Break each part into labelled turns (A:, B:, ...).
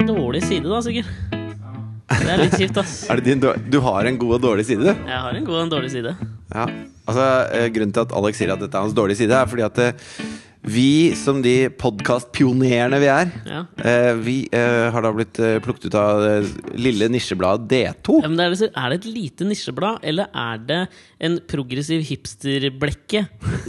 A: side, da, sikkert. Det er litt kjipt, ass.
B: Er det din, dår- du har en god og dårlig side, du?
A: Jeg har en god og en dårlig side.
B: Ja. Altså, eh, grunnen til at Alex sier at dette er hans dårlige side, er fordi at eh, vi, som de podkastpionerene vi er,
A: Ja.
B: eh, vi eh, har da blitt eh, plukket ut av eh, lille nisjebladet D2.
A: Ja, men det er, liksom, er det et lite nisjeblad, eller er det en progressiv hipsterblekke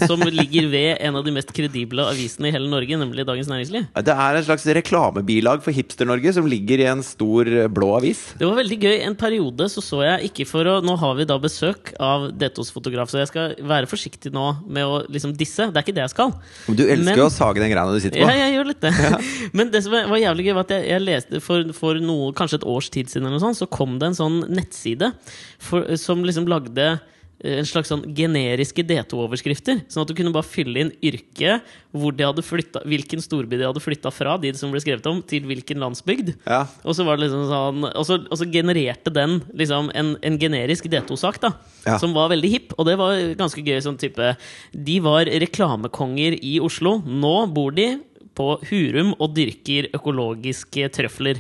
A: som ligger ved en av de mest kredible avisene i hele Norge, nemlig Dagens Næringsliv?
B: Det er en slags reklamebilag for Hipster-Norge som ligger i en stor eh, blå avis.
A: Det var veldig gøy. En periode så så jeg ikke for å Nå har vi da besøk av Dettos fotograf, så jeg skal være forsiktig nå med å liksom disse. Det er ikke det jeg skal.
B: Du elsker
A: Men-
B: jo å sage den greina du sitter
A: Ja,
B: på.
A: jeg gjør litt det. Men det som var jævlig gøy, var at jeg, jeg leste for, for noe, kanskje et års tid siden, eller noe sånt, så kom det en sånn nettside for, som liksom lagde eh, en slags sånn generiske D2-overskrifter. Sånn at du kunne bare fylle inn yrke, hvor de hadde flytta, hvilken storby de hadde flytta fra, de som ble skrevet om, til hvilken landsbygd.
B: Ja.
A: Og så var det liksom sånn Og så, og så genererte den liksom en, en generisk D2-sak, da.
B: Ja.
A: Som var veldig hipp. Og det var ganske gøy. sånn type De var reklamekonger i Oslo. Nå bor de på Hurum og dyrker økologiske trøfler.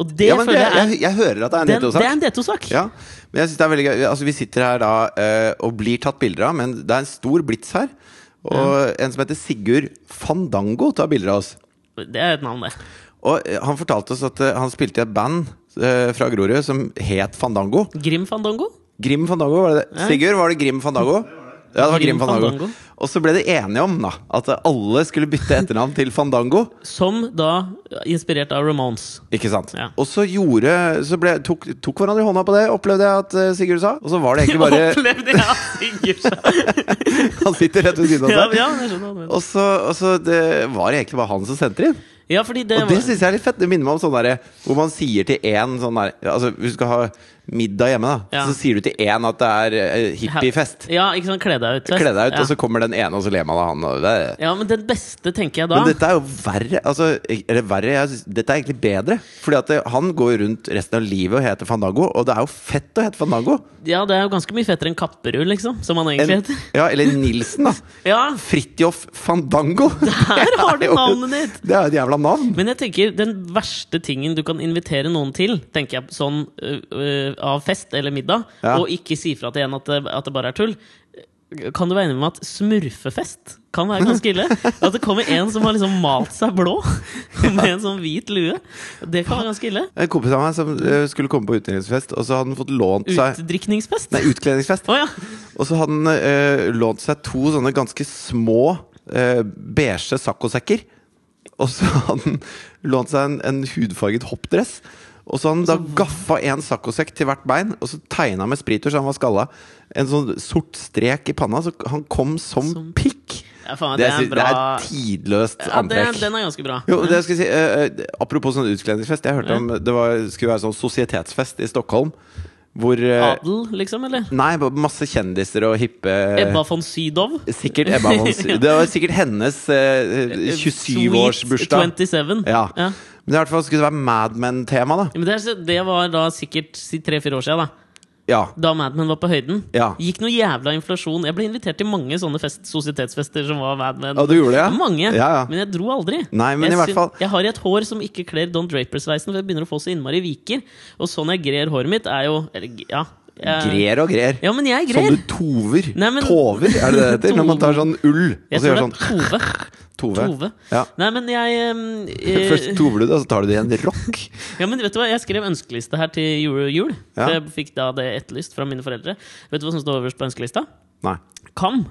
A: Og det
B: Ja, men det,
A: føler jeg er
B: jeg, jeg hører at det er en
A: den, Det
B: nettosak.
A: er en D2-sak!
B: Ja, men jeg synes det er veldig gøy Altså vi sitter her da eh, og blir tatt bilder av Men det er en stor blitz her Og en som heter Sigurd Fandango tar bilder av oss
A: Det er et navn, det.
B: Og eh, han fortalte oss at eh, han spilte i et band eh, fra Grorud Som het Fandango
A: Grim Fandango?
B: Grim Fandango var det det? Sigurd, var det Grim Fandango? Ja, det var
A: Grim
B: Grim Fandango
A: Fandango.
B: Og så ble de enige om da At alle skulle bytte etternavn til Fandango
A: Som da inspirert av Ramones.
B: Ikke sant?
A: Ja.
B: Og så gjorde Så ble, tok, tok hverandre i hånda på det Opplevde jeg at eh, Sigurd sa Og så var det egentlig bare
A: Opplevde jeg at Sigurd
B: Han sitter rett ved siden av
A: Ja,
B: seg
A: ja, jeg skjønner hva du mener.
B: Og så, og så det var det egentlig bare han som sendte det inn.
A: Ja, fordi det
B: Og det syns jeg er litt fett. Det minner meg om sånn derre hvor man sier til én sånn der Altså, hvis du skal ha middag hjemme, da.
A: Ja.
B: Så sier du til én at det er eh, hippiefest.
A: Ja, ikke sant, kle deg ut. fest.
B: Kle deg ut,
A: ja.
B: og så kommer den ene, og så ler man av han. Og det. er-
A: Ja, men den beste, tenker jeg da.
B: Men dette er jo verre. Altså, eller verre jeg synes, Dette er egentlig bedre. Fordi at det, han går jo rundt resten av livet og heter Fandango, og det er jo fett å hete Fandango.
A: Ja, det er jo ganske mye fettere enn Kapperud, liksom. Som han egentlig
B: En,
A: heter.
B: ja, eller Nilsen, da.
A: Ja,
B: Fridtjof Fandango.
A: her har du
B: Det er jo-
A: navnet ditt!
B: Det er jo et jævla navn.
A: Men jeg tenker, den verste tingen du kan invitere noen til, tenker jeg sånn øh, øh, av fest eller middag,
B: Ja.
A: og ikke si fra til en at det, at det bare er tull kan du være enig med at smurfefest kan være ganske ille? At det kommer en som har liksom malt seg blå med en sånn hvit lue. Det kan være ganske ille.
B: En kompis av meg som eh, skulle komme på utenriksfest, og så hadde han fått lånt seg
A: Utdrikningsfest.
B: Nei, utkledningsfest.
A: Å ja.
B: Og så hadde han eh, lånt seg to sånne ganske små eh, beige saccosekker. Og så hadde han lånt seg en, en hudfarget hoppdress. Og så hadde han da gaffa en saccosekk til hvert bein, og så tegna med spriter så han var skalla. En sånn sort strek i panna, så han kom som, pikk!
A: ja faen,
B: Det
A: det er
B: er,
A: en
B: det
A: bra
B: er et tidløst
A: ja, det,
B: antrekk.
A: Den er ganske bra.
B: Jo, det jeg skulle si eh, eh, Apropos sånn utkledningsfest. Jeg hørte
A: Ja.
B: om det var, skulle være sånn sosietetsfest i Stockholm. Hvor eh,
A: Adel, liksom, eller?
B: Nei, bare masse kjendiser og hippe
A: Ebba von Sydow.
B: Sikkert Ebba von Sy- Det var sikkert hennes eh, 27-årsbursdag.
A: Sweet 27.
B: Ja.
A: Ja.
B: Men i hvert fall skulle det være Mad Men-tema, da.
A: Ja, Men det, er, så- det var da sikkert si tre-fire år siden, da.
B: Ja.
A: Da Mad Men var på høyden.
B: Ja.
A: Gikk noe jævla inflasjon. Jeg ble invitert til mange sånne fest, sosietetsfester som var Mad Men.
B: Ja, du gjorde det, ja?
A: Mange.
B: Ja, ja.
A: Men jeg dro aldri.
B: Nei, men
A: jeg,
B: i hvert
A: syn-
B: fall-
A: jeg har et hår som ikke kler Don Draper-sveisen, for jeg begynner å få så innmari viker. Og sånn jeg grer håret mitt, er jo Eller, ja. Jeg,
B: Grer og grer.
A: Ja, men jeg
B: Sånn
A: grer.
B: du tover.
A: Nei, men-
B: Tover, er det det heter? Når man tar sånn ull og
A: Jeg tror
B: så gjør
A: det
B: sånn
A: er Tove.
B: Tove.
A: Tove.
B: Ja.
A: Nei, men jeg ehm, eh,
B: Først tover du det, og så tar du det i en rock.
A: Ja, men vet du hva? Jeg skrev ønskeliste her til jul, jul
B: Ja.
A: for jeg fikk da det etterlyst fra mine foreldre. Vet du hva som står øverst på ønskelista?
B: Nei.
A: Kam.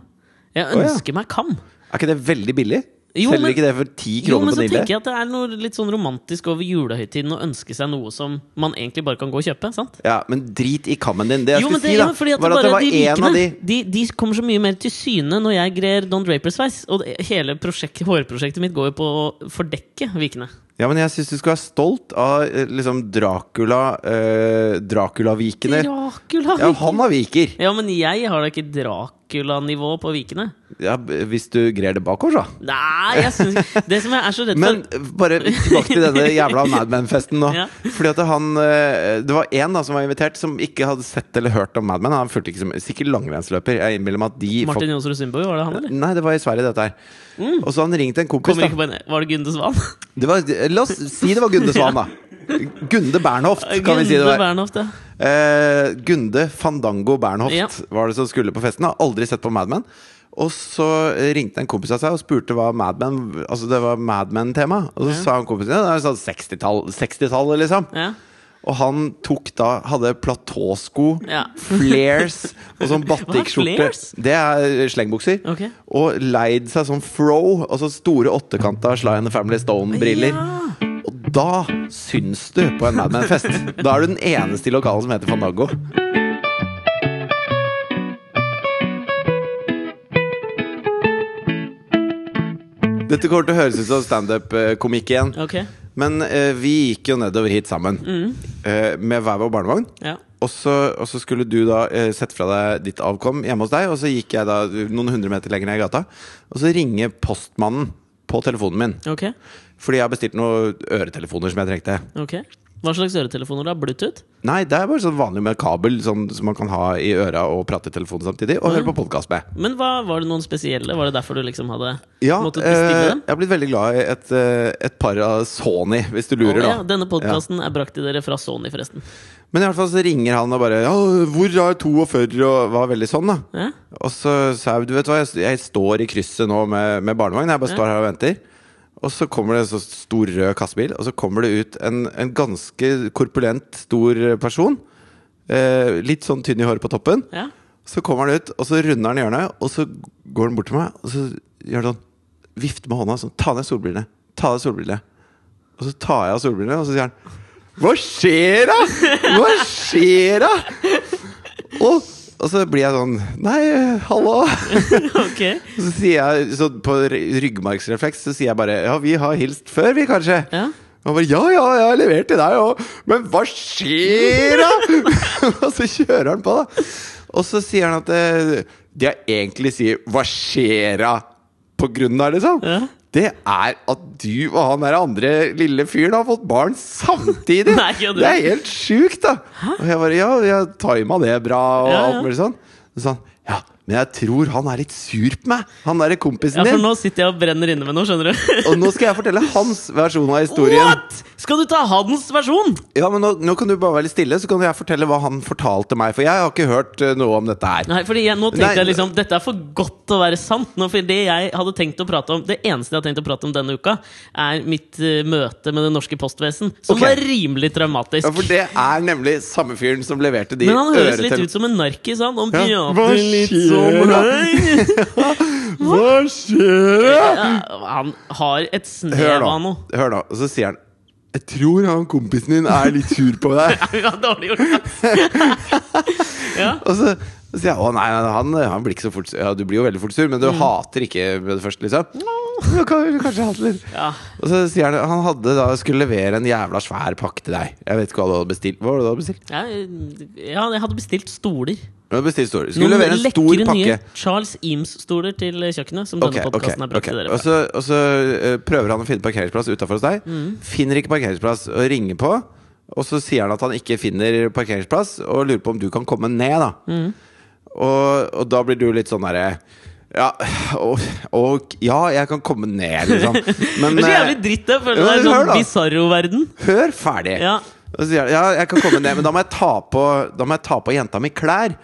A: Jeg
B: ja.
A: ønsker meg kam.
B: Er ikke det veldig billig?
A: Jo,
B: Selger
A: men-
B: ikke det for ti
A: Jo,
B: kroner
A: men
B: på
A: så
B: Nille?
A: tenker jeg at det er noe litt sånn romantisk over julehøytiden å ønske seg noe som man egentlig bare kan gå og kjøpe. sant?
B: Ja, men drit i kammen din. Det jeg
A: Jo, men det,
B: skulle si,
A: ja,
B: da,
A: men fordi at
B: var at
A: bare
B: det var
A: de
B: en av de
A: likene de, de kommer så mye mer til syne når jeg grer Don Draper-sveis. Og det- hele prosjekt, hårprosjektet mitt går jo på å fordekke vikene.
B: Ja, men jeg syns du skal være stolt av eh, liksom Dracula eh, Dracula-vikene.
A: Dracula!
B: Ja, han har viker.
A: ja, men jeg har da ikke Dracula-nivå på vikene.
B: Ja, b- hvis du grer det bakover, så.
A: Nei, jeg synes ikke Det som jeg er så redd
B: Men eh, bare tilbake til denne jævla Mad Men-festen nå.
A: Ja.
B: Fordi at han eh, Det var én da som var invitert, som ikke hadde sett eller hørt om Mad Men. Han fulgte ikke som Sikkert langrennsløper. Jeg innbiller meg at de
A: for Martin Johnsrud Sundbø, var det han, eller?
B: Nei, det var i Sverige, dette her. Og så han ringte en kompis,
A: Kommer
B: da.
A: ikke på en Var det Gunde Svan?
B: Det var, la oss si det var Gunde Svan, da. Gunde Bernhoft, kan vi si det
A: Gunde
B: var.
A: Bernhoft, ja.
B: Eh, Gunde Fandango Bernhoft
A: Ja.
B: var det som skulle på festen. Har aldri sett på Mad Men. Og så eh, ringte en kompis av seg og spurte hva Mad Men Altså det var Mad Men-tema. Og så
A: Ja.
B: sa han kompisen sin det er sånn 60-tall- 60-tallet, liksom.
A: ja.
B: Og han tok da Hadde platåsko,
A: Ja.
B: flares og sånn
A: Hva
B: batikkskjorte.
A: er flares?
B: Det er slengbukser.
A: Ok.
B: Og leid seg sånn fro, altså store åttekanta Sly and the Family Stone-briller.
A: Ja.
B: Og da syns du på en Mad Men-fest. Da er du den eneste i lokalet som heter Fandango. Dette kommer til å høres ut som standup-komikk igjen.
A: Ok.
B: Men eh, vi gikk jo nedover hit sammen eh, med hver vår barnevogn.
A: Ja.
B: Og så, og så skulle du da eh, sette fra deg ditt avkom hjemme hos deg, og så gikk jeg da noen hundre meter lenger ned i gata. Og så ringer postmannen på telefonen min,
A: Ok.
B: fordi jeg har bestilt noen øretelefoner som jeg trengte.
A: Ok. Hva slags øretelefoner da? Bluetooth?
B: Nei, det er bare sånn vanlig med kabel, sånn som man kan ha i øra og prate i telefonen samtidig, og høre på podkast med.
A: Men hva, var det noen spesielle? Var det derfor du liksom hadde
B: Ja,
A: måttet
B: eh,
A: bestille dem?
B: jeg har blitt veldig glad i et, eh, et par av Sony, hvis du lurer,
A: Å,
B: da.
A: ja, denne podkasten er brakt til dere fra Sony, forresten.
B: Men i hvert fall så ringer han og bare ja, 'Hvor er 42?' og var veldig sånn, da.
A: Ja?
B: Og så sa jeg du vet hva, jeg, jeg står i krysset nå med, med barnevogn. Jeg bare står her og venter. Og så kommer det en så stor rød kassebil, og så kommer det ut en, en ganske korpulent, stor person. Eh, litt sånn tynn i håret på toppen.
A: Ja?
B: Så kommer han ut, og så runder han hjørnet, og så går han bort til meg, og så gjør han sånn Vifter med hånda sånn Ta ned solbrillene. Ta ned solbrillene. Og så tar jeg av solbrillene, og så sier han Hva skjer, da?! Hva skjer, da?! Og, og så blir jeg sånn Nei, hallo! Og
A: Ok.
B: så sier jeg så på ry- ryggmargsrefleks så sier jeg bare Ja, vi har hilst før, vi, kanskje?
A: Ja.
B: Og han bare Ja, ja, jeg har levert til deg òg. Men hva skjer, da?! og så kjører han på, da. Og så sier han at eh, det jeg egentlig sier 'hva skjer da?' på grunnen der, liksom.
A: Ja.
B: Det er at du og han der andre lille fyren har fått barn samtidig!
A: Nei, kødder du?
B: det er helt sjukt, da! Og jeg bare Ja, jeg tima det bra, og
A: Ja, ja.
B: alt mulig sånn. Så sa han ja, men jeg tror han er litt sur på meg, han derre kompisen
A: ja, for
B: din.
A: nå sitter jeg og brenner inne med noe, skjønner du.
B: Og nå skal jeg fortelle hans versjon av historien.
A: What?! Skal du ta hans versjon?
B: Ja, men nå, nå kan du bare være litt stille, så kan jeg fortelle hva han fortalte meg. For jeg har ikke hørt eh, noe om dette her.
A: Nei, fordi jeg, nå
B: Nei,
A: tenkte jeg liksom Dette er for godt til å være sant. Nå, for det jeg hadde tenkt å prate om Det eneste jeg har tenkt å prate om denne uka, er mitt eh, møte med det norske postvesen, som
B: Ok.
A: var rimelig traumatisk.
B: Ja, For det er nemlig samme fyren som leverte de
A: Men han høres litt
B: øretel-
A: ut som en narkis, han. Han prater
B: Ja. Hva
A: litt
B: skjer
A: som
B: da?
A: Hei!
B: Hva skjer?
A: Ja, Han har et
B: Hør
A: snev av
B: nå.
A: noe.
B: Hør nå. Og så sier han Jeg tror han kompisen din er litt sur på deg.
A: Ja, dårlig gjort, ass. Ja.
B: Og så så sier jeg å nei, nei, han, han blir ikke så fort sur. Ja, du blir jo veldig fort sur, men du
A: Mm.
B: hater ikke med det første, liksom. Du kan- du Kanskje hater litt.
A: Ja.
B: Og så sier han han hadde da skulle levere en jævla svær pakke til deg. Jeg vet ikke hva du hadde bestilt. Hva var det du hadde bestilt?
A: Ja, ja, jeg hadde bestilt stoler.
B: Du hadde bestilt stoler. Skulle levere en stor
A: lekre nye
B: pakke.
A: Charles Eames-stoler til kjøkkenet, som
B: Ok,
A: denne
B: ok,
A: podkasten er brakt
B: ok.
A: til dere
B: Og
A: fra.
B: så, og så eh, prøver han å finne parkeringsplass utafor hos deg.
A: Mm.
B: Finner ikke parkeringsplass og ringer på. Og så sier han at han ikke finner parkeringsplass, og lurer på om du kan komme ned. da
A: Mm.
B: og, og da blir du litt sånn derre ja, og, og ja, jeg kan komme ned, liksom. Men
A: Det er så
B: eh,
A: jævlig dritt, jeg føler
B: Ja,
A: det er
B: men hør
A: sånn
B: da.
A: bizarro-verden.
B: hør ferdig!
A: Ja.
B: Og så sier han ja, jeg kan komme ned, men da må jeg ta på, da må jeg ta på jenta mi klær.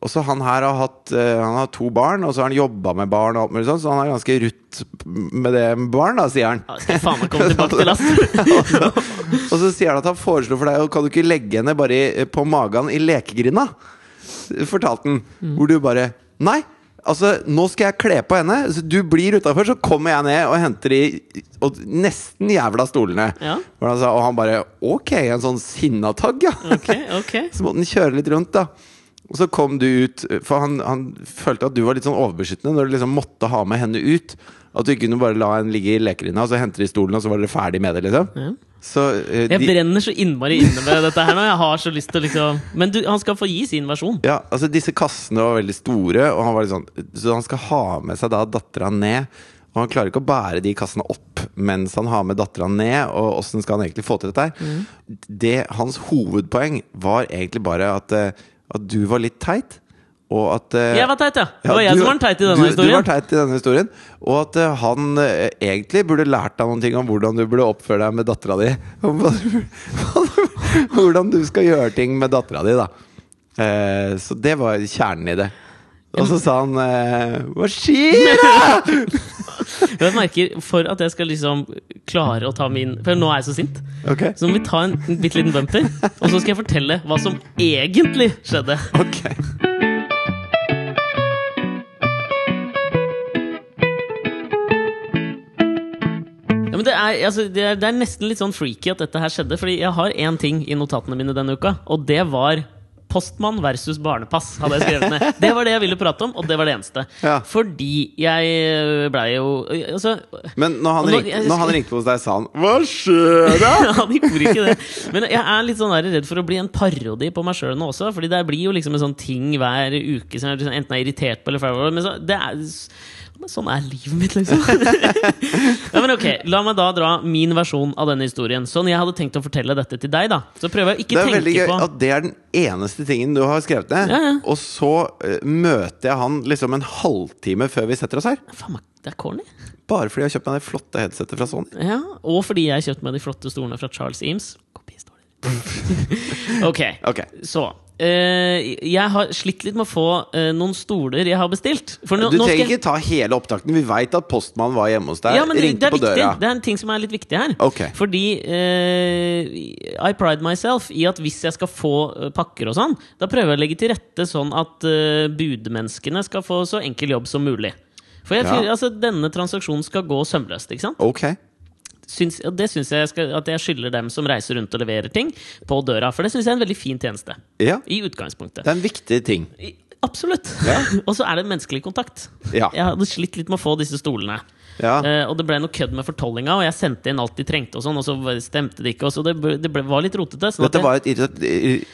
B: Og så han her har hatt eh, Han har to barn, og så har han jobba med barn, og alt mulig sånt, så han er ganske rutt med det med barn, da, sier han.
A: Ja, det skal jeg faen meg komme tilbake til, ass.
B: Og så sier han at han foreslo for deg Og kan du ikke legge henne bare i- på magen i lekegrinda? Fortalte han. Hvor du bare Nei! Altså, nå skal jeg kle på henne. Så du blir utafor, så kommer jeg ned og henter de og nesten jævla stolene.
A: Ja.
B: Hvor han sa, og han bare Ok, en sånn sinnatagg, ja.
A: Ok, ok.
B: Så måtte han kjøre litt rundt, da. Og så kom du ut, for han, han følte at du var litt sånn overbeskyttende når du liksom måtte ha med henne ut. At du ikke kunne bare la henne ligge i lekerinna, og så hente de stolen, og så var dere ferdig med det, liksom.
A: Ja.
B: Så eh,
A: Jeg
B: de,
A: brenner så innmari inne med dette her nå. Jeg har så lyst til å liksom Men du, han skal få gi sin versjon.
B: ja, altså disse kassene var veldig store, og han var litt sånn, så han skal ha med seg da dattera ned. Og han klarer ikke å bære de kassene opp mens han har med dattera ned. Og åssen skal han egentlig få til dette her?
A: Mm.
B: Det, hans hovedpoeng var egentlig bare at, eh, at du var litt teit. Og at eh,
A: Jeg var teit, ja! Det
B: ja,
A: var jeg
B: du-
A: som var den teite i denne
B: du, Du var
A: historien.
B: teit i denne historien Og at eh, han eh, egentlig burde lært deg noen ting om hvordan du burde oppføre deg med dattera di. Om hva du- hva du- Hvordan du skal gjøre ting med dattera di, da. Eh, så det var kjernen i det. Og så sa han eh, Hva skjer?
A: Jeg merker, For at jeg skal liksom klare å ta min For nå er jeg så sint.
B: Ok,
A: Så må vi ta en bitte liten bumper, og så skal jeg fortelle hva som egentlig skjedde.
B: ok
A: Ja, men det, er, altså, det, er, det er nesten litt sånn freaky at dette her skjedde, Fordi jeg har én ting i notatene mine denne uka, og det var Postmann versus barnepass. hadde jeg skrevet ned Det var det jeg ville prate om, og det var det eneste.
B: Ja.
A: Fordi jeg blei jo altså,
B: Men når han,
A: Og nå-
B: ringte,
A: jeg
B: når han
A: husker-
B: ringte hos deg, sa han Hva skjer da?
A: Han gjorde ikke det. Men jeg er litt sånn der, redd for å bli en parodi på meg sjøl nå også. Fordi det blir jo liksom en sånn ting hver uke som jeg liksom enten er irritert på eller flau over. Men så, det er, men sånn er livet mitt, liksom. ja, men ok, La meg da dra min versjon av denne historien. Sånn jeg hadde tenkt å fortelle dette til deg, da. Så prøver jeg å
B: Det
A: ikke
B: er veldig
A: tenke
B: gøy
A: på
B: at det er den eneste tingen du har skrevet ned.
A: Ja, ja.
B: Og så eh, møter jeg han liksom en halvtime før vi setter oss her.
A: Faen meg, det er corny.
B: Bare fordi jeg har kjøpt meg det flotte headsetet fra Sony.
A: Ja, Og fordi jeg kjøpte meg de flotte stolene fra Charles Eames. Kopistoler. ok.
B: Ok,
A: Så eh, Jeg har slitt litt med å få eh, noen stoler jeg har bestilt. For nå,
B: Du
A: nå skal
B: trenger
A: jeg-
B: ikke ta hele opptakten. Vi veit at postmannen var hjemme hos deg.
A: ja, men det,
B: ringte
A: det er
B: på
A: viktig.
B: døra.
A: Det er en ting som er litt viktig her.
B: Ok.
A: Fordi eh, I pride myself i at hvis jeg skal få eh, pakker og sånn, da prøver jeg å legge til rette sånn at eh, budmenneskene skal få så enkel jobb som mulig. For jeg,
B: Ja.
A: altså, denne transaksjonen skal gå sømløst. ikke sant?
B: Ok.
A: syns, og det syns jeg jeg skal, at jeg skylder dem som reiser rundt og leverer ting, på døra. For det syns jeg er en veldig fin tjeneste.
B: Ja,
A: I utgangspunktet.
B: det er en viktig ting.
A: I, absolutt!
B: Ja.
A: og så er det menneskelig kontakt.
B: Ja.
A: Jeg hadde slitt litt med å få disse stolene.
B: Ja.
A: Eh, og det ble noe kødd med fortollinga, og jeg sendte inn alt de trengte, og sånn, og så stemte det ikke. Og så det, ble- det ble, var litt rotete. Sånn at
B: Dette
A: jeg-
B: var et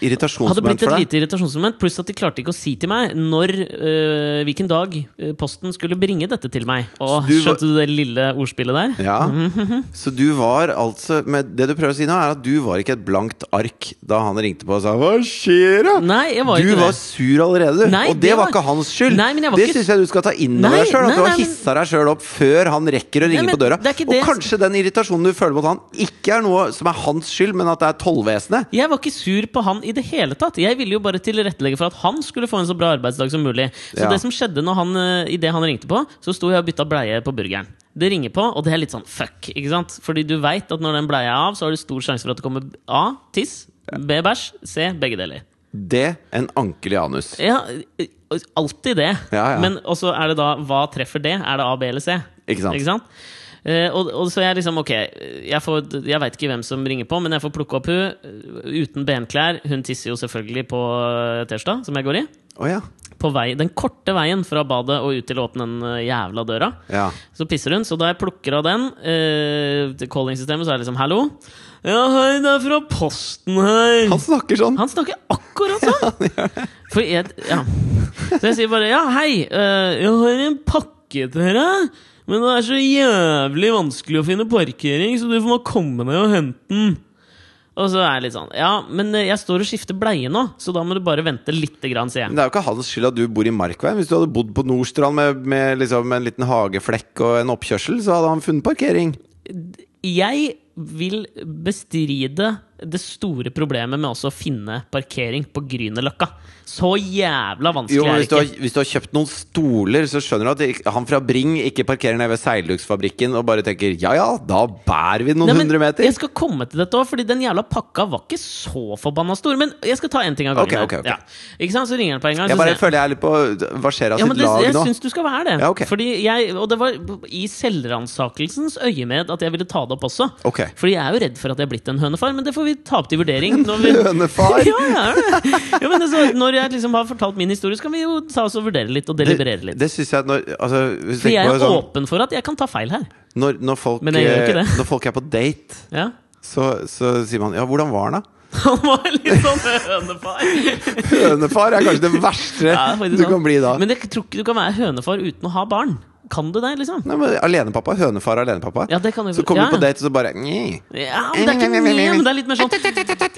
B: irrita- ir-
A: hadde
B: irritasjonsmoment
A: blitt et
B: for deg.
A: lite irritasjonsmoment, pluss at de klarte ikke å si til meg når, eh, hvilken dag eh, posten skulle bringe dette til meg. Og
B: Så du var-
A: skjønte du det lille ordspillet der?
B: Ja.
A: Mhm.
B: Så du var altså men Det du prøver å si nå, er at du var ikke et blankt ark da han ringte på og sa 'Hva skjer, da?'
A: Nei, jeg var
B: du
A: ikke
B: var
A: det.
B: sur allerede, du.
A: Nei,
B: og det,
A: det
B: var
A: var-
B: ikke hans skyld.
A: Nei, men jeg var
B: det
A: ikke-
B: syns jeg du skal ta inn over
A: Nei,
B: deg
A: nei,
B: sjøl. At
A: nei,
B: du har
A: men-
B: hissa deg sjøl opp før han rekker å ringe
A: Nei, men
B: på døra.
A: det er ikke
B: Og
A: det-
B: kanskje den irritasjonen du føler mot han, ikke er noe som er hans skyld, men at det er tollvesenet.
A: Jeg var ikke sur på han i det hele tatt. Jeg ville jo bare tilrettelegge for at han skulle få en så bra arbeidsdag som mulig. Så
B: Ja.
A: det som skjedde når han, eh, i det han ringte på, så sto jeg og bytta bleie på burgeren. Det ringer på, og det er litt sånn fuck. ikke sant? Fordi du veit at når den bleia er av, så har du stor sjanse for at det kommer A. Tiss. B. Bæsj. C. Begge deler.
B: Det en ankel i anus.
A: Ja, eh, alltid det.
B: Ja, ja.
A: Men også er det da hva treffer det? Er det A, B eller C?
B: Ikke sant?
A: Ikke sant? Eh, og, og så jeg liksom, ok Jeg, får- jeg veit ikke hvem som ringer på, men jeg får plukke opp hun eh, uten benklær. Hun tisser jo selvfølgelig på eh, tirsdag, som jeg går i.
B: Å ja.
A: På vei, den korte veien fra badet og ut til å åpne den eh, jævla døra.
B: ja.
A: Så pisser hun, så da jeg plukker av den eh, til callingsystemet, så er det liksom 'hallo'. 'Ja, hei, det er fra Posten her'.
B: Han snakker sånn.
A: Han snakker akkurat sånn! For jeg, ja. Så jeg sier bare 'ja, hei, eh, jeg har en pakke til dere', men det er så jævlig vanskelig å finne parkering, så du får bare komme ned og hente den. Og så er jeg litt sånn Ja, men eh, jeg står og skifter bleie nå, så da må du bare vente lite grann, sier jeg.
B: Men det er jo ikke hans skyld at du bor i Markveien. Hvis du hadde bodd på Nordstrand med, med liksom en liten hageflekk og en oppkjørsel, så hadde han funnet parkering.
A: Jeg vil bestride det store problemet med også å finne parkering på Grünerløkka. Så jævla vanskelig
B: Jo, men
A: er
B: hvis
A: det
B: du, har,
A: ikke.
B: hvis du har kjøpt noen stoler, så skjønner du at det- han fra Bring ikke parkerer nede ved seilduksfabrikken og bare tenker ja ja, da bærer vi noen
A: Nei, men
B: hundre meter.
A: Jeg skal komme til dette òg, fordi den jævla pakka var ikke så forbanna stor. Men jeg skal ta én ting av gangen.
B: Ok,
A: her.
B: ok, ok.
A: Ja. Ikke sant? Så ringer han på en gang.
B: Jeg
A: så
B: bare
A: sier han-
B: føler jeg er litt på Varsera
A: ja,
B: sitt
A: men det,
B: lag
A: jeg
B: nå.
A: syns du skal være det.
B: Ja, ok.
A: Fordi jeg, Og det var i selvransakelsens øyemed at jeg ville ta det opp også.
B: Ok.
A: Fordi jeg er jo redd for at jeg er blitt en hønefar, men det får vi ta opp til vurdering. Når vi...
B: Hønefar?
A: ja, ja, ja. ja, men altså, Når jeg liksom har fortalt min historie, så kan vi jo ta oss og vurdere litt og deliberere
B: Det,
A: litt.
B: det syns jeg når, altså, hvis du
A: For jeg
B: tenker
A: er
B: på det sånn,
A: åpen for at jeg kan ta feil her.
B: når, når, folk,
A: Men jeg gjør ikke
B: eh,
A: det.
B: når folk er på date,
A: Ja.
B: så, så sier man ja, hvordan var han da?
A: Han var litt sånn hønefar.
B: Hønefar er kanskje det verste
A: Ja, det er faktisk
B: du
A: sant.
B: kan bli da.
A: Men jeg tror ikke du kan være hønefar uten å ha barn. Kan du det, liksom?
B: Nei, men Alenepappa. Hønefar og alenepappa.
A: Ja, det kan du
B: Så
A: ja,
B: kommer du på
A: ja.
B: date, og så bare Nei.
A: Ja, Ah, men det er ikke mye, men det er litt mer sånn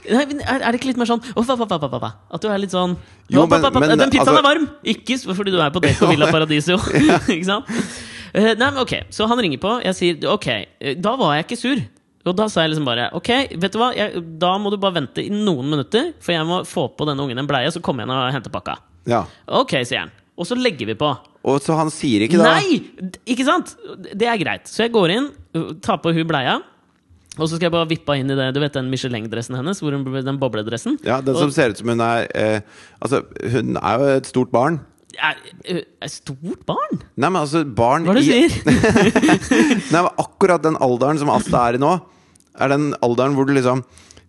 A: Nei, men Er er det ikke litt mer sånn «Å, fa, fa, fa, fa, fa, fa», At du er litt sånn
B: Jo,
A: «Å, fa,
B: men-
A: fa, fa,
B: men,
A: Den pizzaen
B: altså-
A: er varm! Ikke s- fordi du er på date på Villa Paradiso. ikke sant? Eh, Nei, men ok, Så han ringer på. Jeg sier ok, eh, da var jeg ikke sur. Og da sa jeg liksom bare ok, vet du hva, jeg, da må du bare vente i noen minutter, for jeg må få på denne ungen en bleie, så kommer jeg inn og henter pakka.
B: Ja.
A: Ok, sier han. Og så legger vi på.
B: Og så han sier ikke da
A: Nei! D- Ikke sant? Det er greit. Så jeg går inn, ø, tar på hun bleia. Og så skal jeg bare vippe henne inn i det, du vet den Michelin-dressen hennes? Hvor hun, den bobledressen?
B: Ja, Den som ser ut som hun er eh, Altså, hun er jo et stort barn.
A: Er, ø, er stort barn?
B: Nei, men altså, barn
A: Hva er det du
B: i
A: sier?
B: Nei, men akkurat den alderen som Asta er i nå, er den alderen hvor du liksom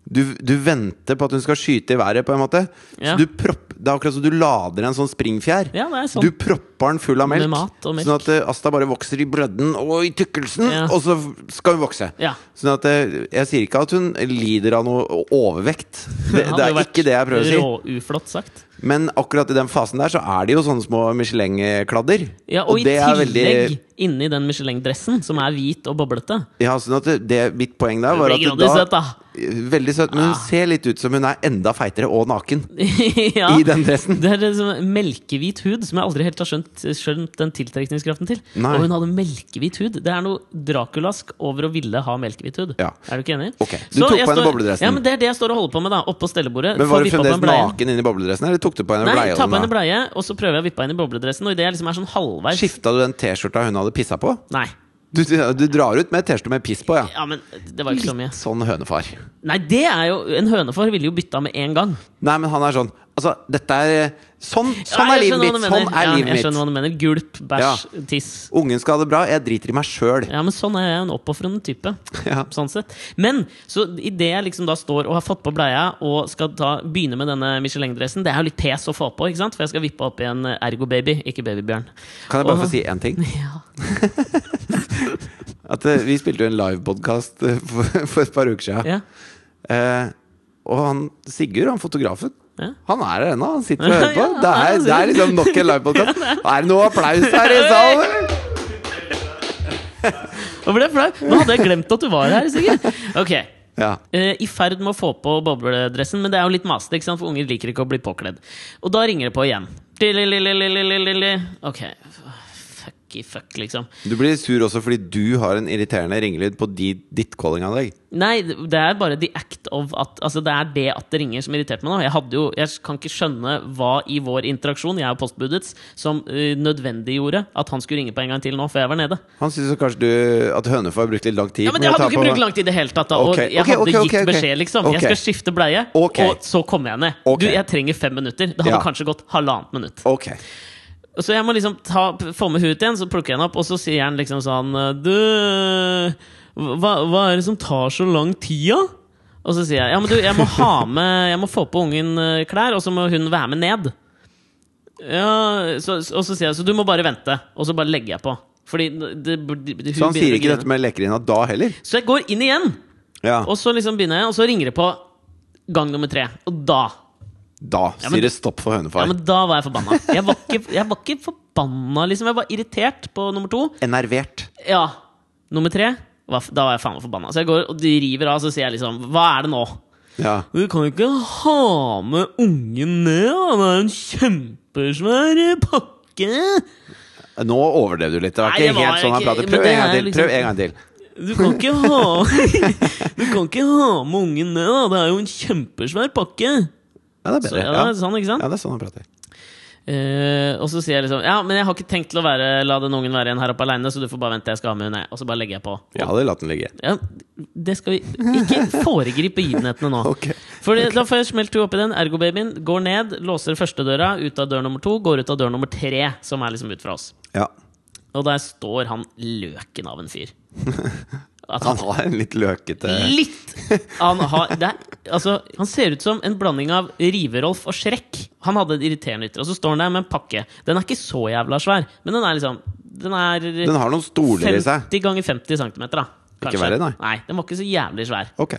B: du, du venter på at hun skal skyte i været, på en måte.
A: Ja.
B: Så du propp, det er akkurat som du lader en sånn springfjær.
A: Ja, det er sånn.
B: Du propper den full av melk,
A: Med mat og melk.
B: sånn at eh, Asta bare vokser i brødden og i tykkelsen,
A: Ja.
B: og så skal hun vokse.
A: Ja.
B: Sånn at eh, Jeg sier ikke at hun lider av noe overvekt. Det,
A: hadde
B: det
A: jo
B: er
A: vært
B: ikke det jeg prøver å si.
A: Råuflott sagt.
B: Men akkurat i den fasen der så er det jo sånne små Michelin-kladder.
A: Ja, og, i
B: det er
A: tillegg,
B: veldig-
A: inni den Michelin-dressen, som er hvit og boblete.
B: Ja, sånn at det, det, mitt poeng der var
A: Det
B: at
A: blir
B: det
A: grådig
B: da
A: søt, da!
B: Veldig søt, men hun
A: Ah.
B: ser litt ut som hun er enda feitere og naken
A: ja.
B: i den dressen.
A: Det er liksom melkehvit hud, som jeg aldri helt har skjønt, skjønt den tiltrekningskraften til.
B: Nei.
A: Og hun hadde melkehvit hud. Det er noe Draculask over å ville ha melkehvit hud.
B: Ja.
A: Er du ikke enig?
B: Ok, du tok
A: jeg
B: på henne
A: står-
B: bobledressen.
A: Ja, men Det er det jeg står og holder på med, da. Oppå stellebordet.
B: Men
A: Får
B: Var du
A: vippa på en
B: fremdeles
A: bleie.
B: naken inni bobledressen, eller tok du på henne
A: Nei,
B: bleia?
A: ta på henne
B: Nei,
A: bleie, og så prøver jeg å vippe henne inn i bobledressen. Og idet jeg liksom er sånn halvveis
B: Skifta du den T-skjorta hun hadde pissa på?
A: Nei.
B: Du, du, du drar ut med T-skjorte med piss på, ja.
A: Ja, men det var ikke så mye.
B: Sånn hønefar.
A: Nei, det er jo En hønefar ville jo bytta med en gang.
B: Nei, men han er sånn Altså, dette er Sånn, sånn
A: Ja,
B: er
A: jeg
B: livet
A: skjønner hva
B: mitt!
A: du
B: Sånn
A: mener.
B: er
A: ja, Jeg
B: livet
A: skjønner
B: mitt!
A: hva du mener. Gulp, bæsj, tiss.
B: Ungen skal ha det bra, jeg driter i meg sjøl.
A: Ja, men sånn er jeg en oppofrende type.
B: Ja.
A: Sånn sett. Men så idet jeg liksom da står og har fått på bleia og skal ta, begynne med denne Michelin-dressen Det er jo litt pes å få på, ikke sant? for jeg skal vippe opp i en Ergo-baby, ikke Babybjørn.
B: Kan jeg bare
A: Og-
B: få si én ting?
A: Ja.
B: At eh, Vi spilte jo en livepodkast for, for et par uker siden.
A: Ja.
B: Eh, og han Sigurd, han fotografen,
A: Ja.
B: han er her ennå. Han sitter og hører på.
A: Ja,
B: det,
A: han er
B: er, det er liksom nok en livepodkast. Er det noe applaus her i salen? eller?
A: Nå ble jeg flau! Nå hadde jeg glemt at du var her, Sigurd. Ok,
B: Ja.
A: eh, I ferd med å få på bobledressen, men det er jo litt masete, ikke sant? for unger liker ikke å bli påkledd. Og da ringer det på igjen. Tililililililili. Ok, fucky fuck, liksom.
B: Du blir sur også fordi du har en irriterende ringelyd på di, ditt callinganlegg.
A: Nei, det er bare the act of at Altså det er det at det ringer som irriterte meg nå. Jeg, hadde jo, jeg kan ikke skjønne hva i vår interaksjon, jeg og postbudets, som eh, nødvendiggjorde at han skulle ringe på en gang til nå, for jeg var nede.
B: Han syns jo kanskje du, at Hønefar brukte litt lang tid.
A: Ja, men
B: med
A: Jeg
B: å
A: hadde
B: ta
A: jo ikke
B: på-
A: brukt lang tid i det hele tatt. da Og
B: Ok,
A: jeg
B: ok,
A: hadde
B: ok, ok,
A: gitt
B: ok.
A: beskjed, liksom.
B: Ok.
A: Jeg skal skifte bleie,
B: Ok.
A: og så kommer jeg ned.
B: Ok.
A: Du, jeg trenger fem minutter. Det hadde
B: Ja.
A: kanskje gått halvannet minutt.
B: Ok.
A: Så jeg må liksom ta, få med hun ut igjen, så plukker jeg henne opp, og så sier han liksom sånn Du, hva, hva er det som tar så lang tid, da? Og så sier jeg ja, men du, jeg må ha med Jeg må få på ungen eh, klær, og så må hun være med ned. Ja, så, og så sier jeg så du må bare vente, og så bare legger jeg på. Fordi det, det, det,
B: Så han Sånn sier ikke dette med lekerinna da heller?
A: Så jeg går inn igjen,
B: Ja.
A: og så liksom begynner jeg, og så ringer det på gang nummer tre. Og da
B: Da
A: Ja, men-
B: sier det stopp for
A: ja,
B: Hønefar.
A: men da var jeg forbanna. Jeg var ikke, jeg var ikke forbanna, liksom. Jeg var irritert på nummer to.
B: Enervert.
A: Ja. Nummer tre hva f- Da var jeg faen meg forbanna. Så jeg går og de river av, så sier jeg liksom Hva er det nå?
B: Ja.
A: Du kan jo ikke ha med ungen ned, da. det er en kjempesvær pakke.
B: Nå overdrev du litt. Det var
A: Nei,
B: ikke
A: det var
B: helt sånn han
A: ikke-
B: pratet.
A: men
B: Prøv
A: det
B: en gang
A: er
B: til.
A: liksom-
B: Prøv en gang til.
A: Du kan ikke ha Du kan ikke ha med ungen ned, da. det er jo en kjempesvær pakke.
B: Ja, det er
A: Så,
B: bedre.
A: ja,
B: Ja.
A: det er Sånn, ikke sant?
B: Ja, det er sånn han prater.
A: Eh, og så sier jeg liksom Ja, men jeg har ikke tenkt til å være, la den ungen være igjen her oppe aleine, så du får bare vente, jeg skal ha med henne. Og så bare legger jeg på.
B: Jeg hadde latt den ligge.
A: Ja, det skal vi Ikke foregripe begivenhetene nå.
B: Ok.
A: For det- Da får jeg smelt henne oppi den. Ergo-babyen går ned, låser første døra, ut av dør nummer to, går ut av dør nummer tre, som er liksom ut fra oss.
B: Ja.
A: Og der står han løken av en fyr. At han
B: Han eh, har en litt løkete
A: litt Han, har, det er, altså, han ser ut som en blanding av Rive-Rolf og Shrek. Han hadde et irriterende ytre. Og så står han der med en pakke. Den er ikke så jævla svær, men den er liksom Den er
B: Den har noen stoler i seg.
A: 50 ganger 50 cm, da.
B: Ikke verre, nei.
A: Nei, den var ikke så jævlig svær.
B: Ok.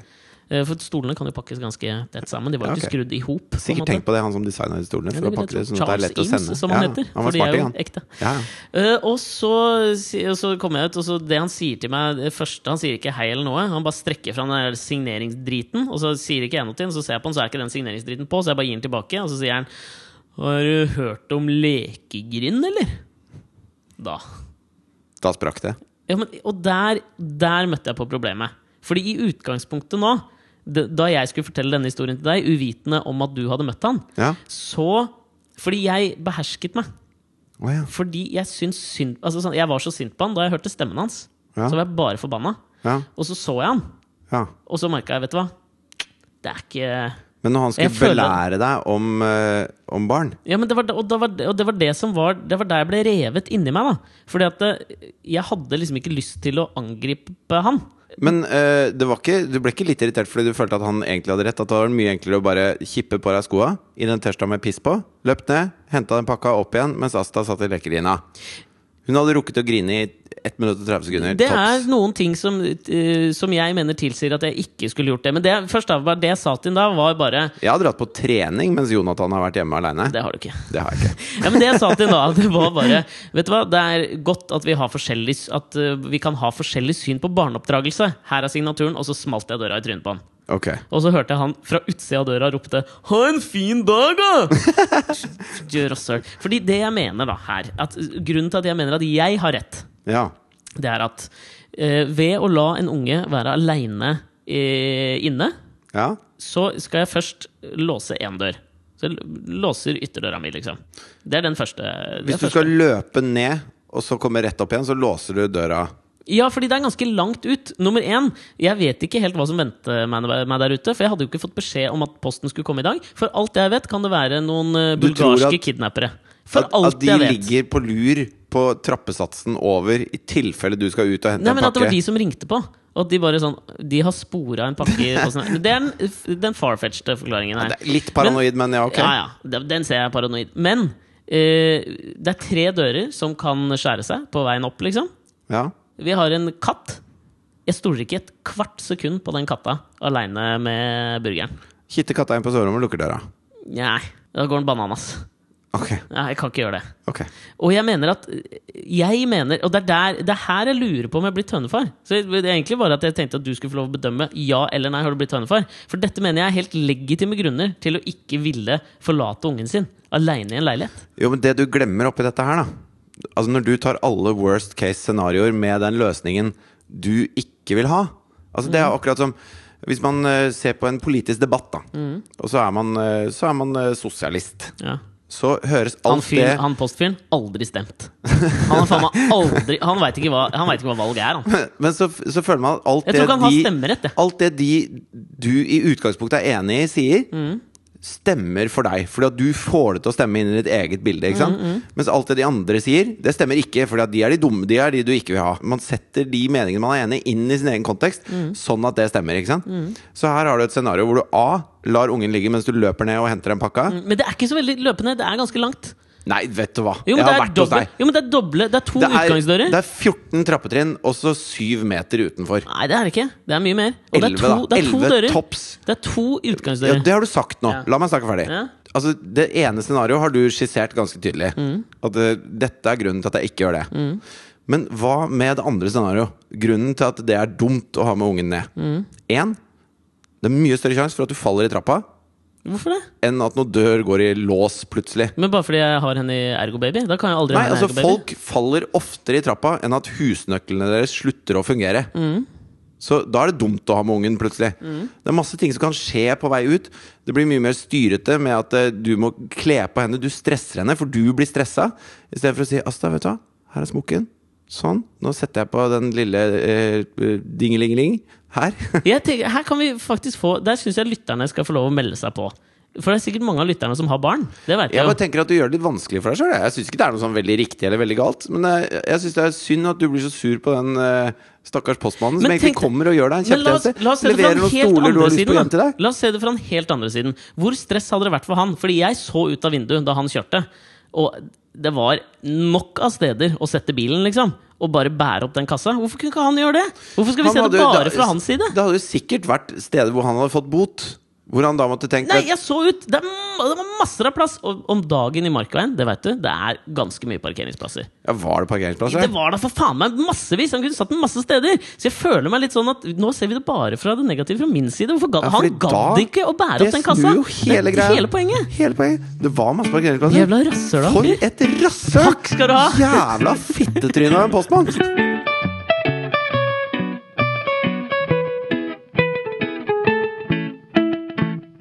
A: Eh, For stolene kan jo pakkes ganske tett sammen. De var jo
B: Ja,
A: ikke
B: ok.
A: skrudd i hop. på en
B: Sikkert
A: måte.
B: tenk på det, han som designa de stolene.
A: Ja, det
B: For å
A: vil jeg
B: pakke det,
A: tro.
B: sånn at det er
A: Charles
B: lett å
A: Eames,
B: sende.
A: som han
B: Ja,
A: heter.
B: Han var
A: for de
B: smart,
A: er jo
B: ikke han.
A: ekte.
B: Ja, ja.
A: Eh, og så, si- og så kommer jeg ut, og så det han sier til meg det første, Han sier ikke hei eller noe. Han bare strekker fram den der signeringsdriten, og så sier ikke jeg noe til den. Så ser jeg på den, så er ikke den signeringsdriten på, så jeg bare gir den tilbake. Og så sier han Har du hørt om lekegrind, eller? Da.
B: Da sprakk det.
A: Ja, men, og der, der møtte jeg på problemet. Fordi i utgangspunktet nå, d- da jeg skulle fortelle denne historien til deg, uvitende om at du hadde møtt han,
B: Ja.
A: så Fordi jeg behersket meg.
B: Å ja.
A: Fordi jeg syns synd altså, sånn, Jeg var så sint på han da jeg hørte stemmen hans.
B: Ja.
A: Så var jeg bare forbanna.
B: ja.
A: Og så så jeg han,
B: ja.
A: og så merka jeg, vet du hva Det er ikke
B: Men når han
A: Jeg
B: skulle
A: føler-
B: belære deg om, eh, om barn
A: Ja, men det var, da- og, da var, og det var det som var Det var der jeg ble revet inni meg, da. Fordi at eh, jeg hadde liksom ikke lyst til å angripe han.
B: Men eh, det var ikke, du ble ikke litt irritert fordi du følte at han egentlig hadde rett? At det var mye enklere å bare kippe på deg skoa i den T-skjorta med piss på, løpt ned, henta den pakka opp igjen mens Asta satt i lekedyna? Hun hadde rukket å grine i 1 minutt og 30 sekunder.
A: Det
B: tops.
A: er noen ting som, eh, som jeg mener tilsier at jeg ikke skulle gjort det. Men det, først av alt, det jeg sa til ham da, var bare
B: Jeg har dratt på trening mens Jonathan har vært hjemme aleine.
A: Det har du ikke.
B: Det har jeg ikke.
A: Ja, men det jeg sa til da, det var bare Vet du hva, det er godt at vi, har forskjellig, s- at eh, vi kan ha forskjellig syn på barneoppdragelse. Her er signaturen, og så smalt jeg døra i trynet på han.
B: Ok.
A: Og så hørte jeg han fra utsida av døra ropte 'Ha en fin dag, da!' Rasshøl. Fordi det jeg mener da her at eh, Grunnen til at jeg mener at jeg har rett,
B: Ja.
A: det er at eh, ved å la en unge være aleine eh, inne,
B: Ja.
A: så skal jeg først låse én dør. Så jeg l- låser ytterdøra mi, liksom. Det er den første. det er
B: Hvis du
A: første.
B: skal løpe ned og så komme rett opp igjen, så låser du døra.
A: Ja, fordi det er ganske langt ut. Nummer én, jeg vet ikke helt hva som venter meg meg der ute. For jeg hadde jo ikke fått beskjed om at posten skulle komme i dag. For alt jeg vet, kan det være noen eh,
B: Du tror
A: bulgarske
B: at-
A: kidnappere. For
B: at,
A: alt
B: at de
A: jeg vet.
B: ligger på lur på trappesatsen over i tilfelle du skal ut og hente
A: Nei, men
B: en
A: at det var
B: pakke.
A: de som ringte på. Og at de bare sånn De har spora en pakke i posten. her. Det er den, den farfetchede forklaringen her.
B: Det er litt paranoid, men, ja, ok.
A: Ja, ja, den- den ser jeg paranoid. Men eh, det er tre dører som kan skjære seg på veien opp, liksom.
B: Ja.
A: Vi har en katt. Jeg stoler ikke et kvart sekund på den katta aleine med burgeren.
B: Kitter katta inn på soverommet og lukker døra.
A: Nei, da går den bananas.
B: Ok,
A: Nei, jeg kan ikke gjøre det.
B: ok
A: Og jeg mener at Jeg mener Og det er, der, det er her jeg lurer på om jeg blir tønnefar. Så det er egentlig bare at jeg tenkte at du skulle få lov å bedømme ja eller nei. har du blitt tønnefar For dette mener jeg er helt legitime grunner til å ikke ville forlate ungen sin aleine i en leilighet.
B: Jo, men det du glemmer oppi dette her, da Altså Når du tar alle worst case-scenarioer med den løsningen du ikke vil ha Altså
A: Mm.
B: Det er akkurat som hvis man eh, ser på en politisk debatt, da
A: Mm.
B: og så er man, eh, så er man eh, sosialist,
A: Ja.
B: så høres
A: Han,
B: alt
A: fyren-
B: det
A: han postfyren aldri stemt. Han har faen meg aldri Han veit ikke, hva- han vet ikke hva valget er, han.
B: Men så, så føler man at alt
A: Jeg tror ikke han har
B: det de
A: stemmerett. jeg.
B: Alt det de du i utgangspunktet er enig i, sier,
A: Mm.
B: stemmer for deg. Fordi at du får det til å stemme inn i ditt eget bilde. Ikke
A: Mm,
B: sant? Mens alt det de andre sier, det stemmer ikke. Fordi at de er de dumme, de er de du ikke vil ha. Man setter de meningene man er enig i, inn i sin egen kontekst,
A: Mm.
B: sånn at det stemmer. Ikke sant? Så her har du et scenario hvor du A. lar ungen ligge mens du løper ned og henter en pakka.
A: Men det er ikke så veldig løpende. Det er ganske langt.
B: Nei, vet du hva!
A: Jo,
B: Jeg
A: men, det
B: har
A: er,
B: vært hos
A: doble,
B: deg.
A: jo, men det er doble Det er to
B: Det er,
A: utgangsdører.
B: det er 14 trappetrinn og så 7 meter utenfor.
A: Nei, det er det ikke. Det er mye mer. Og det
B: 11,
A: er to,
B: da.
A: det er to
B: 11
A: dører.
B: tops.
A: Det er to
B: Ja,
A: utgangsdører.
B: det har du sagt nå.
A: Ja.
B: La meg snakke ferdig.
A: Ja.
B: Altså, det ene scenarioet har du skissert ganske tydelig.
A: Mm.
B: At eh, dette er grunnen til at jeg ikke gjør det. Men hva med det andre scenarioet? Grunnen til at det er dumt å ha med ungen
A: Mm.
B: ned. Én, det er mye større sjanse for at du faller i trappa
A: Hvorfor det?
B: enn at noen dør går i lås plutselig.
A: Men bare fordi jeg har henne i Ergo Baby? Da kan jeg aldri
B: Nei,
A: ha henne i
B: altså
A: Ergo Baby.
B: Folk faller oftere i trappa enn at husnøklene deres slutter å fungere. Så da er det dumt å ha med ungen plutselig. Det er masse ting som kan skje på vei ut. Det blir mye mer styrete med at eh, du må kle på henne. Du stresser henne, for du blir stressa. Istedenfor å si 'Asta, vet du hva, her er smokken'. Sånn. Nå setter jeg på den lille eh, dingelingeling her.
A: Jeg tenker, her kan vi faktisk få Der syns jeg lytterne skal få lov å melde seg på. For det er sikkert mange av lytterne som har barn. Det vet
B: Jeg
A: jeg
B: bare
A: jo.
B: tenker at du gjør det litt vanskelig for deg sjøl. Jeg syns ikke det er noe sånn veldig riktig eller veldig galt. Men eh, jeg syns det er synd at du blir så sur på den eh, stakkars postmannen som
A: Men
B: egentlig
A: tenk-
B: kommer og gjør deg en
A: Men la oss, la oss se
B: kjempetjeneste.
A: det fra
B: Leverer
A: den
B: noen
A: helt
B: stoler du
A: andre
B: har lyst på hjem
A: siden.
B: til
A: Da.
B: deg.
A: La oss se det fra den helt andre siden. Hvor stress hadde det vært for han? Fordi jeg så ut av vinduet da han kjørte, og det var nok av steder å sette bilen, liksom. og bare bære opp den kassa? Hvorfor kunne ikke han gjøre det? Hvorfor skal vi
B: Han
A: se
B: hadde
A: det
B: jo-
A: bare
B: da-
A: fra hans side?
B: Det hadde jo sikkert vært steder hvor han hadde fått bot. Hvor han da måtte tenke
A: Nei,
B: at-
A: jeg så ut Det, er, ma- det var masser av plass! Og om dagen i Markveien, det vet du, det er ganske mye parkeringsplasser.
B: ja, Var det parkeringsplasser?
A: Det var da for faen meg massevis! Han kunne satt den masse steder! Så jeg føler meg litt sånn at nå ser vi det bare fra det negative fra min side. Hvorfor gadd
B: Ja,
A: han
B: fordi
A: gadd
B: da-
A: ikke å bære opp den kassa?
B: snur jo hele
A: det
B: greia.
A: er hele poenget!
B: Hele poenget. Det var masse parkeringsplasser.
A: Jævla rasshøl han
B: For
A: blir.
B: et rasshøl!
A: Takk skal du ha.
B: Jævla fittetryne av en postmann!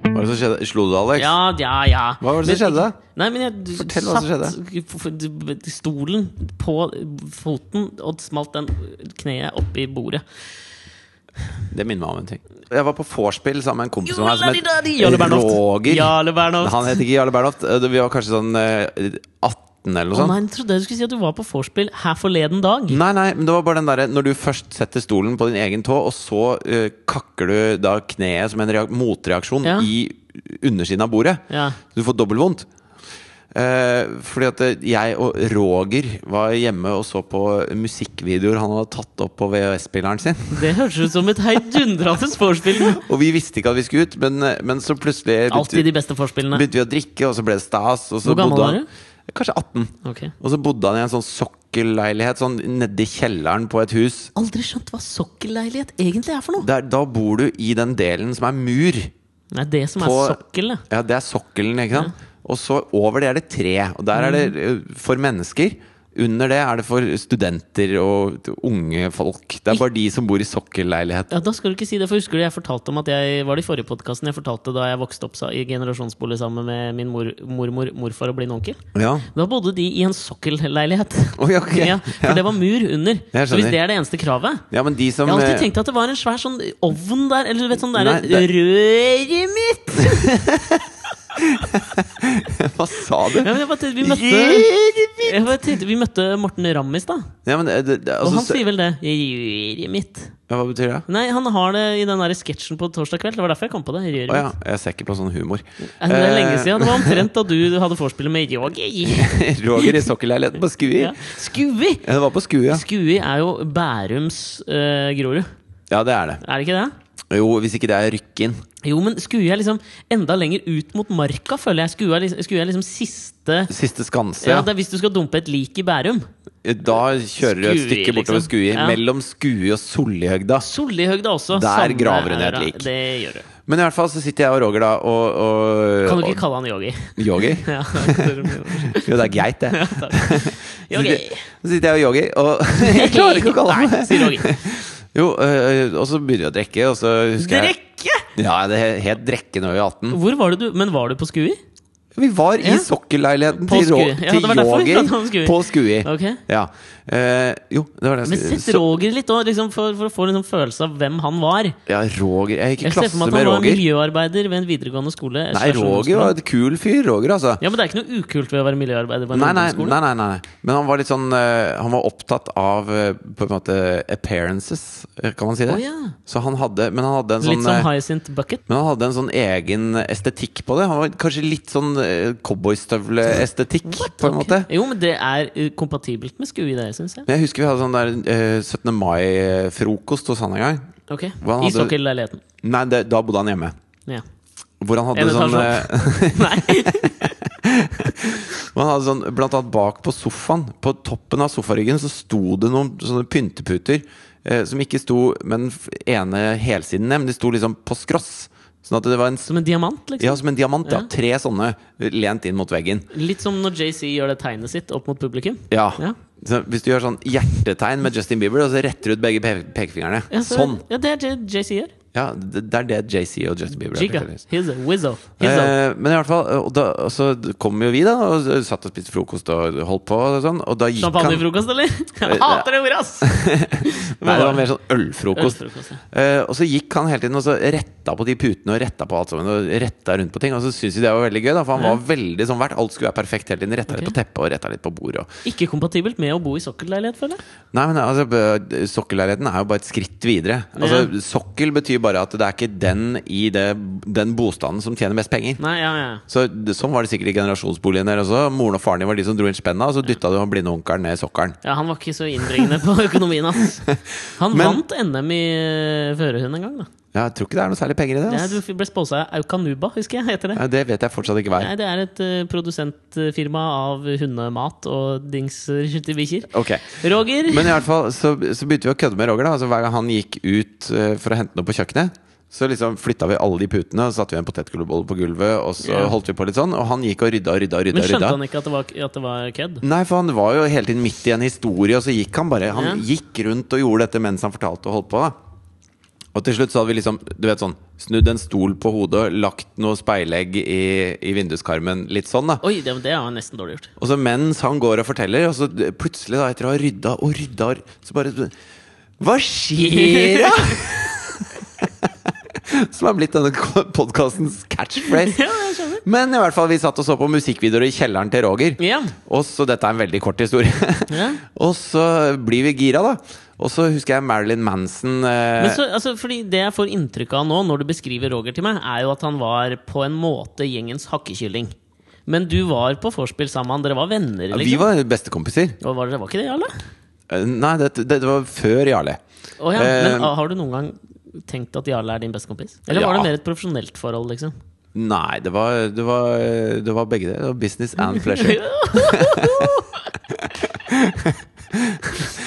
B: Hva er det som skjedde? Slo du deg, Alex?
A: Ja, ja, ja.
B: Hva var det som skjedde?
A: Nei, men jeg d-
B: Fortell hva som
A: satt f- f- d- stolen på foten og smalt den kneet oppi bordet.
B: Det minner meg om en ting. Jeg var på vorspiel sammen med en kompis av meg som
A: Jolalidadi!
B: het
A: Jarle Bernhoft.
B: Roger.
A: Jarle Bernhoft.
B: Han het ikke Jarle Bernhoft. Vi var kanskje sånn eh, 18 eller noe
A: Å
B: sånt.
A: nei, jeg trodde du skulle si at du var på vorspiel her forleden dag.
B: Nei, nei, men det var bare den derre Når du først setter stolen på din egen tå, og så eh, kakker du da kneet som en reak motreaksjon
A: Ja.
B: i undersiden av bordet.
A: Ja.
B: Du får dobbeltvondt. Uh, fordi at eh, jeg og Roger var hjemme og så på musikkvideoer han hadde tatt opp på VHS-spilleren sin.
A: Det hørtes ut som et heidundrende vorspiel.
B: Og vi visste ikke at vi skulle ut, men, eh, men så plutselig
A: Alltid
B: begynte,
A: de beste vorspielene.
B: begynte vi å drikke, og så ble det stas. Og så
A: Hvor gammel
B: bodde
A: var
B: han- Kanskje 18.
A: Ok.
B: Og så bodde han i en sånn sokkelleilighet sånn nedi kjelleren på et hus.
A: Aldri skjønt hva sokkelleilighet egentlig er for noe.
B: Der, da bor du i den delen som er mur.
A: Nei, det som er
B: På-
A: sokkel, det.
B: Ja, det er sokkelen, ikke sant? Og så over det er det tre. Og der er det
A: Mm.
B: eh, for mennesker. Under det er det for studenter og unge folk. Det er bare de som bor i sokkelleilighet.
A: Ja, da skal du ikke si det, for husker du jeg fortalte om at jeg var det i forrige podkasten jeg fortalte da jeg vokste opp sa- i generasjonsbolig sammen med min mor, mormor, morfar og blinde onkel?
B: Ja.
A: Da bodde de i en sokkelleilighet.
B: Oi, ok.
A: Ja, for det var mur under.
B: Jeg
A: Så hvis
B: skjønner.
A: det er det eneste kravet
B: ja, men de som
A: Jeg har
B: eh,
A: alltid tenkt at det var en svær sånn ovn der, eller du vet sånn der
B: Nei, det-
A: Røret mitt!
B: Hva sa du?
A: Ja, men jeg bare tenkte, vi møtte,
B: Ja,
A: jeg bare tenkte, vi møtte Morten Rammis, da.
B: men eh, det, det,
A: Og
B: altså,
A: han sier vel det. Røret mitt.
B: ja, Hva betyr det?
A: Nei, han har det i den der sketsjen på torsdag kveld. Det var derfor jeg kom på det. Røret
B: Å ja, Eh.
A: mitt.
B: jeg ser ikke på sånn humor.
A: Nei, Det er lenge siden. Det var omtrent da du hadde vorspielet med Yogi.
B: Eh, Roger i sokkelleiligheten på Skui.
A: Ja.
B: Ja.
A: Skui!
B: det var på Skui, ja.
A: Skui er jo Bærums eh, Grorud.
B: Ja, det er det.
A: Er det ikke det?
B: Jo, hvis ikke det er Rykkinn.
A: Jo, men skue er liksom enda lenger ut mot marka, føler jeg. Skue er liksom, skue er liksom siste
B: Siste skanse.
A: ja, det er Hvis du skal dumpe et lik i Bærum.
B: Eh, Da kjører du et
A: Skui,
B: stykke bortover
A: liksom.
B: Skui,
A: Ja.
B: mellom Skui og Sollihøgda.
A: Sollihøgda også.
B: Der
A: samme
B: graver hun
A: her,
B: et
A: ja.
B: lik.
A: Det gjør du.
B: Men i hvert fall så sitter jeg og Roger da og, og
A: Kan du ikke kalle han yogi?
B: og Yogi?
A: Ja, takk.
B: Jo, det er greit, det.
A: yogi.
B: Så sitter jeg og Yogi, og jeg klarer ikke å kalle
A: Nei,
B: ham det.
A: sier yogi.
B: Jo, øh, og så begynner jeg å drikke, og så husker jeg
A: Drekke!
B: Ja, det het drikke når vi var 18.
A: Hvor var det du Men var du på Skui?
B: Vi var i
A: Ja.
B: sokkelleiligheten
A: På
B: til, Ro-
A: Skui. Ja, det var
B: til
A: derfor vi pratet om
B: Yogi
A: Skui.
B: på Skui.
A: Ok.
B: Ja. Eh, jo, det var det
A: Men
B: jeg
A: sett Roger litt òg, liksom, for, for å få liksom følelse av hvem han var.
B: Ja, Roger Jeg gikk i
A: Jeg ser for
B: klasse
A: meg at
B: med
A: han var
B: Roger.
A: miljøarbeider ved en videregående skole.
B: Nei, Roger var et kul fyr, Roger, altså.
A: Ja, Men det er ikke noe ukult ved å være miljøarbeider på en
B: Nei nei,
A: ungdomsskole?
B: nei, nei, nei. Men han var litt sånn eh, Han var opptatt av eh, på en måte appearances, eh, kan man si
A: Å,
B: det?
A: ja.
B: Så han hadde Men han hadde en
A: Litt
B: sånn
A: som
B: eh,
A: Hyacinth Bucket?
B: men han hadde en sånn egen estetikk på det. Han var Kanskje litt sånn eh, cowboystøvleestetikk, på en måte.
A: Jo, men det er eh, kompatibelt med skue, det, syns jeg.
B: Men jeg husker vi hadde sånn der eh, 17. mai-frokost hos han en gang.
A: Ok,
B: Hva
A: I
B: hadde-
A: sokkelleiligheten.
B: Nei, det, da bodde han hjemme.
A: Ja.
B: Hvor han hadde
A: En
B: sånn,
A: etasje
B: eh,
A: Nei,
B: hvor han hadde sånn Blant annet bak på sofaen, på toppen av sofaryggen, så sto det noen sånne pynteputer eh, som ikke sto med den f- ene helsiden ned, men de sto liksom på skross. Sånn at det var en s-
A: som en diamant, liksom.
B: ja, som en diamant. Ja.
A: Ja.
B: Tre sånne eh, lent inn mot veggen.
A: Litt som når JC gjør det tegnet sitt opp mot publikum.
B: Ja.
A: Ja.
B: Så hvis du gjør sånn hjertetegn med Justin Bieber, og så retter du ut begge pe pekefingrene.
A: Ja, så-
B: Sånn.
A: Ja, det er det JC gjør.
B: Ja, det det er det JC og Justin Bieber
A: Jigga.
B: faktisk.
A: Hizzo. Wizzo. Hizzo.
B: Eh, men i hvert fall, og da, og så kom jo vi, da, og s- satt og spiste frokost og holdt på og sånn, og da gikk
A: Champagne i
B: han
A: frokost, eller? Jeg hater det ordet, ass!
B: Nei, det var mer sånn ølfrokost.
A: Ølfrokost, ja.
B: Eh, og så gikk han hele tiden og så retta på de putene og retta på alt sammen. Og retta rundt på ting Og så syntes vi det var veldig gøy, da, for han var veldig sånn hvert. Alt skulle være perfekt hele tiden. Retta litt
A: Ok.
B: på teppet og retta litt på bordet. Og...
A: Ikke kompatibelt med å bo i sokkelleilighet, føler jeg.
B: Nei, men altså, b- Sokkelleiligheten er jo bare et skritt videre. Altså, Sokkel betyr bare at det er ikke den i det, den bostanden som tjener mest penger.
A: Nei, ja, ja.
B: Så det, Sånn var det sikkert i generasjonsboligen der også. Moren og faren din var de som dro inn spenna, og så dytta du han blinde onkelen ned i sokkelen.
A: Ja, Han var ikke så innbringende på økonomien hans. Han
B: Men-
A: vant NM i eh, førerhund en gang. da
B: Ja, jeg tror ikke det er noe særlig penger i det.
A: ja,
B: ass.
A: Du ble sponsa av Aukanuba, husker jeg. heter det
B: Ja, det vet jeg fortsatt ikke hva er.
A: Nei, Det er et eh, produsentfirma av hundemat og dingser til bikkjer.
B: Ok.
A: Roger!
B: Men i hvert fall så, så begynte vi å kødde med Roger. da altså, Hver gang han gikk ut eh, for å hente noe på kjøkkenet, så liksom flytta vi alle de putene, og så satte vi en potetgullbolle på gulvet, og så
A: Ja.
B: holdt vi på litt sånn. Og han gikk og rydda og rydda og
A: Men
B: rydda. og
A: skjønte
B: rydda.
A: han ikke at det var, at det var kødd?
B: Nei, for han var jo hele tiden midt i en historie, og så gikk han bare Han
A: Ja.
B: gikk rundt og gjorde dette mens han fortalte og holdt på. da Og til slutt så hadde vi liksom Du vet sånn snudd en stol på hodet, lagt noe speilegg i, i vinduskarmen, litt sånn, da.
A: Oi, det, det var nesten dårlig gjort.
B: Og så mens han går og forteller, og så plutselig, da, etter å ha rydda og rydda, og- så bare Hva skjer, da?! Som har blitt denne podkastens catchphrase.
A: Ja, jeg skjønner.
B: Men i hvert fall, vi satt og så på musikkvideoer i kjelleren til Roger.
A: Ja.
B: Og så, dette er en veldig kort historie.
A: Ja.
B: og så blir vi gira, da. Og så husker jeg Marilyn Manson eh,
A: Men så, altså, fordi Det jeg får inntrykk av nå, når du beskriver Roger til meg, er jo at han var på en måte gjengens hakkekylling. Men du var på vorspiel sammen med han. Dere var venner,
B: Vi
A: liksom?
B: var bestekompiser.
A: Og var, dere- var ikke det, Jarle?
B: Eh, Nei, det, det, var før Jarle.
A: Å ja.
B: Eh,
A: Men ah, har du noen gang tenkt at Jarle er din bestekompis? Eller var
B: Ja.
A: det mer et profesjonelt forhold, liksom?
B: Nei, det var, det var, det var begge det. det var business and pleasure.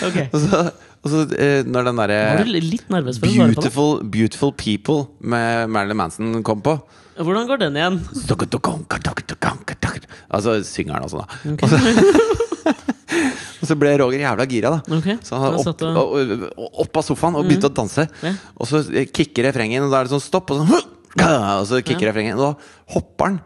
A: ok.
B: og så, og så eh, når den
A: Var
B: derre
A: du litt nervøs for å svare på det?
B: beautiful, beautiful People med Marilyn Manson kom på
A: Hvordan går den igjen?
B: Altså synger han og sånn,
A: Mm.
B: da. Og, så, og så ble Roger jævla gira, da.
A: Ok,
B: Så han
A: da
B: opp,
A: satt du-
B: og- og- og opp av sofaen og begynte å danse.
A: Ja.
B: Og så eh, kicker refrengen, og da er det sånn stopp, og, sånn, og så kicker refrengen. Og da hopper han.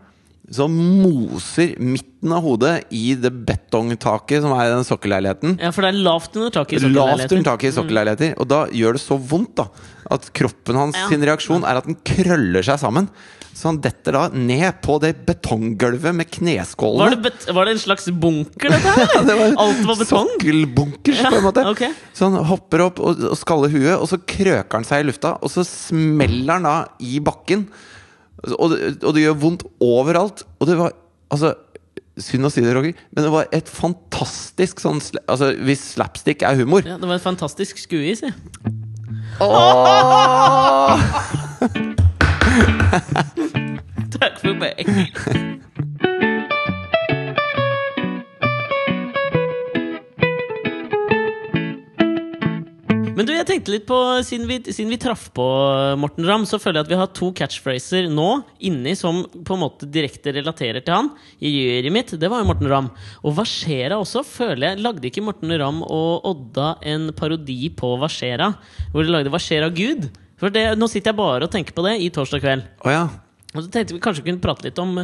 B: Så moser midten av hodet i det betongtaket som er i den sokkelleiligheten.
A: Ja, for det er lavt under taket. i sånn Mm.
B: Lavt
A: sokkelleiligheten.
B: under taket i sokkelleiligheter. Og da gjør det så vondt da at kroppen hans
A: Ja.
B: sin reaksjon er at den krøller seg sammen. Så han detter da ned på det betonggulvet med
A: Var det,
B: kneskålene.
A: bet var det en slags bunker, dette her? Alt var betong?
B: Sokkelbunkers, på en måte.
A: Ja, ok.
B: Så han hopper opp og, og skaller huet, og så krøker han seg i lufta, og så smeller han da i bakken. Og, det- og det gjør vondt overalt. Og det var altså Synd å si det, Roger, men det var et fantastisk sånn sla- Altså, hvis slapstick er humor,
A: Ja, det var et fantastisk skue, si. Takk for meg. Men du, jeg tenkte litt på Siden vi, siden vi traff på Morten Ramm, så føler jeg at vi har to catchphraser nå inni som på en måte direkte relaterer til han. I juryet mitt, det var jo Morten Ramm. Og Hva skjer'a også, føler jeg Lagde ikke Morten Ramm og Odda en parodi på Hva skjer'a? Hvor de lagde Hva skjer'a Gud? For det, Nå sitter jeg bare og tenker på det i torsdag kveld.
B: Å ja.
A: Og så tenkte vi kanskje vi kunne prate litt om,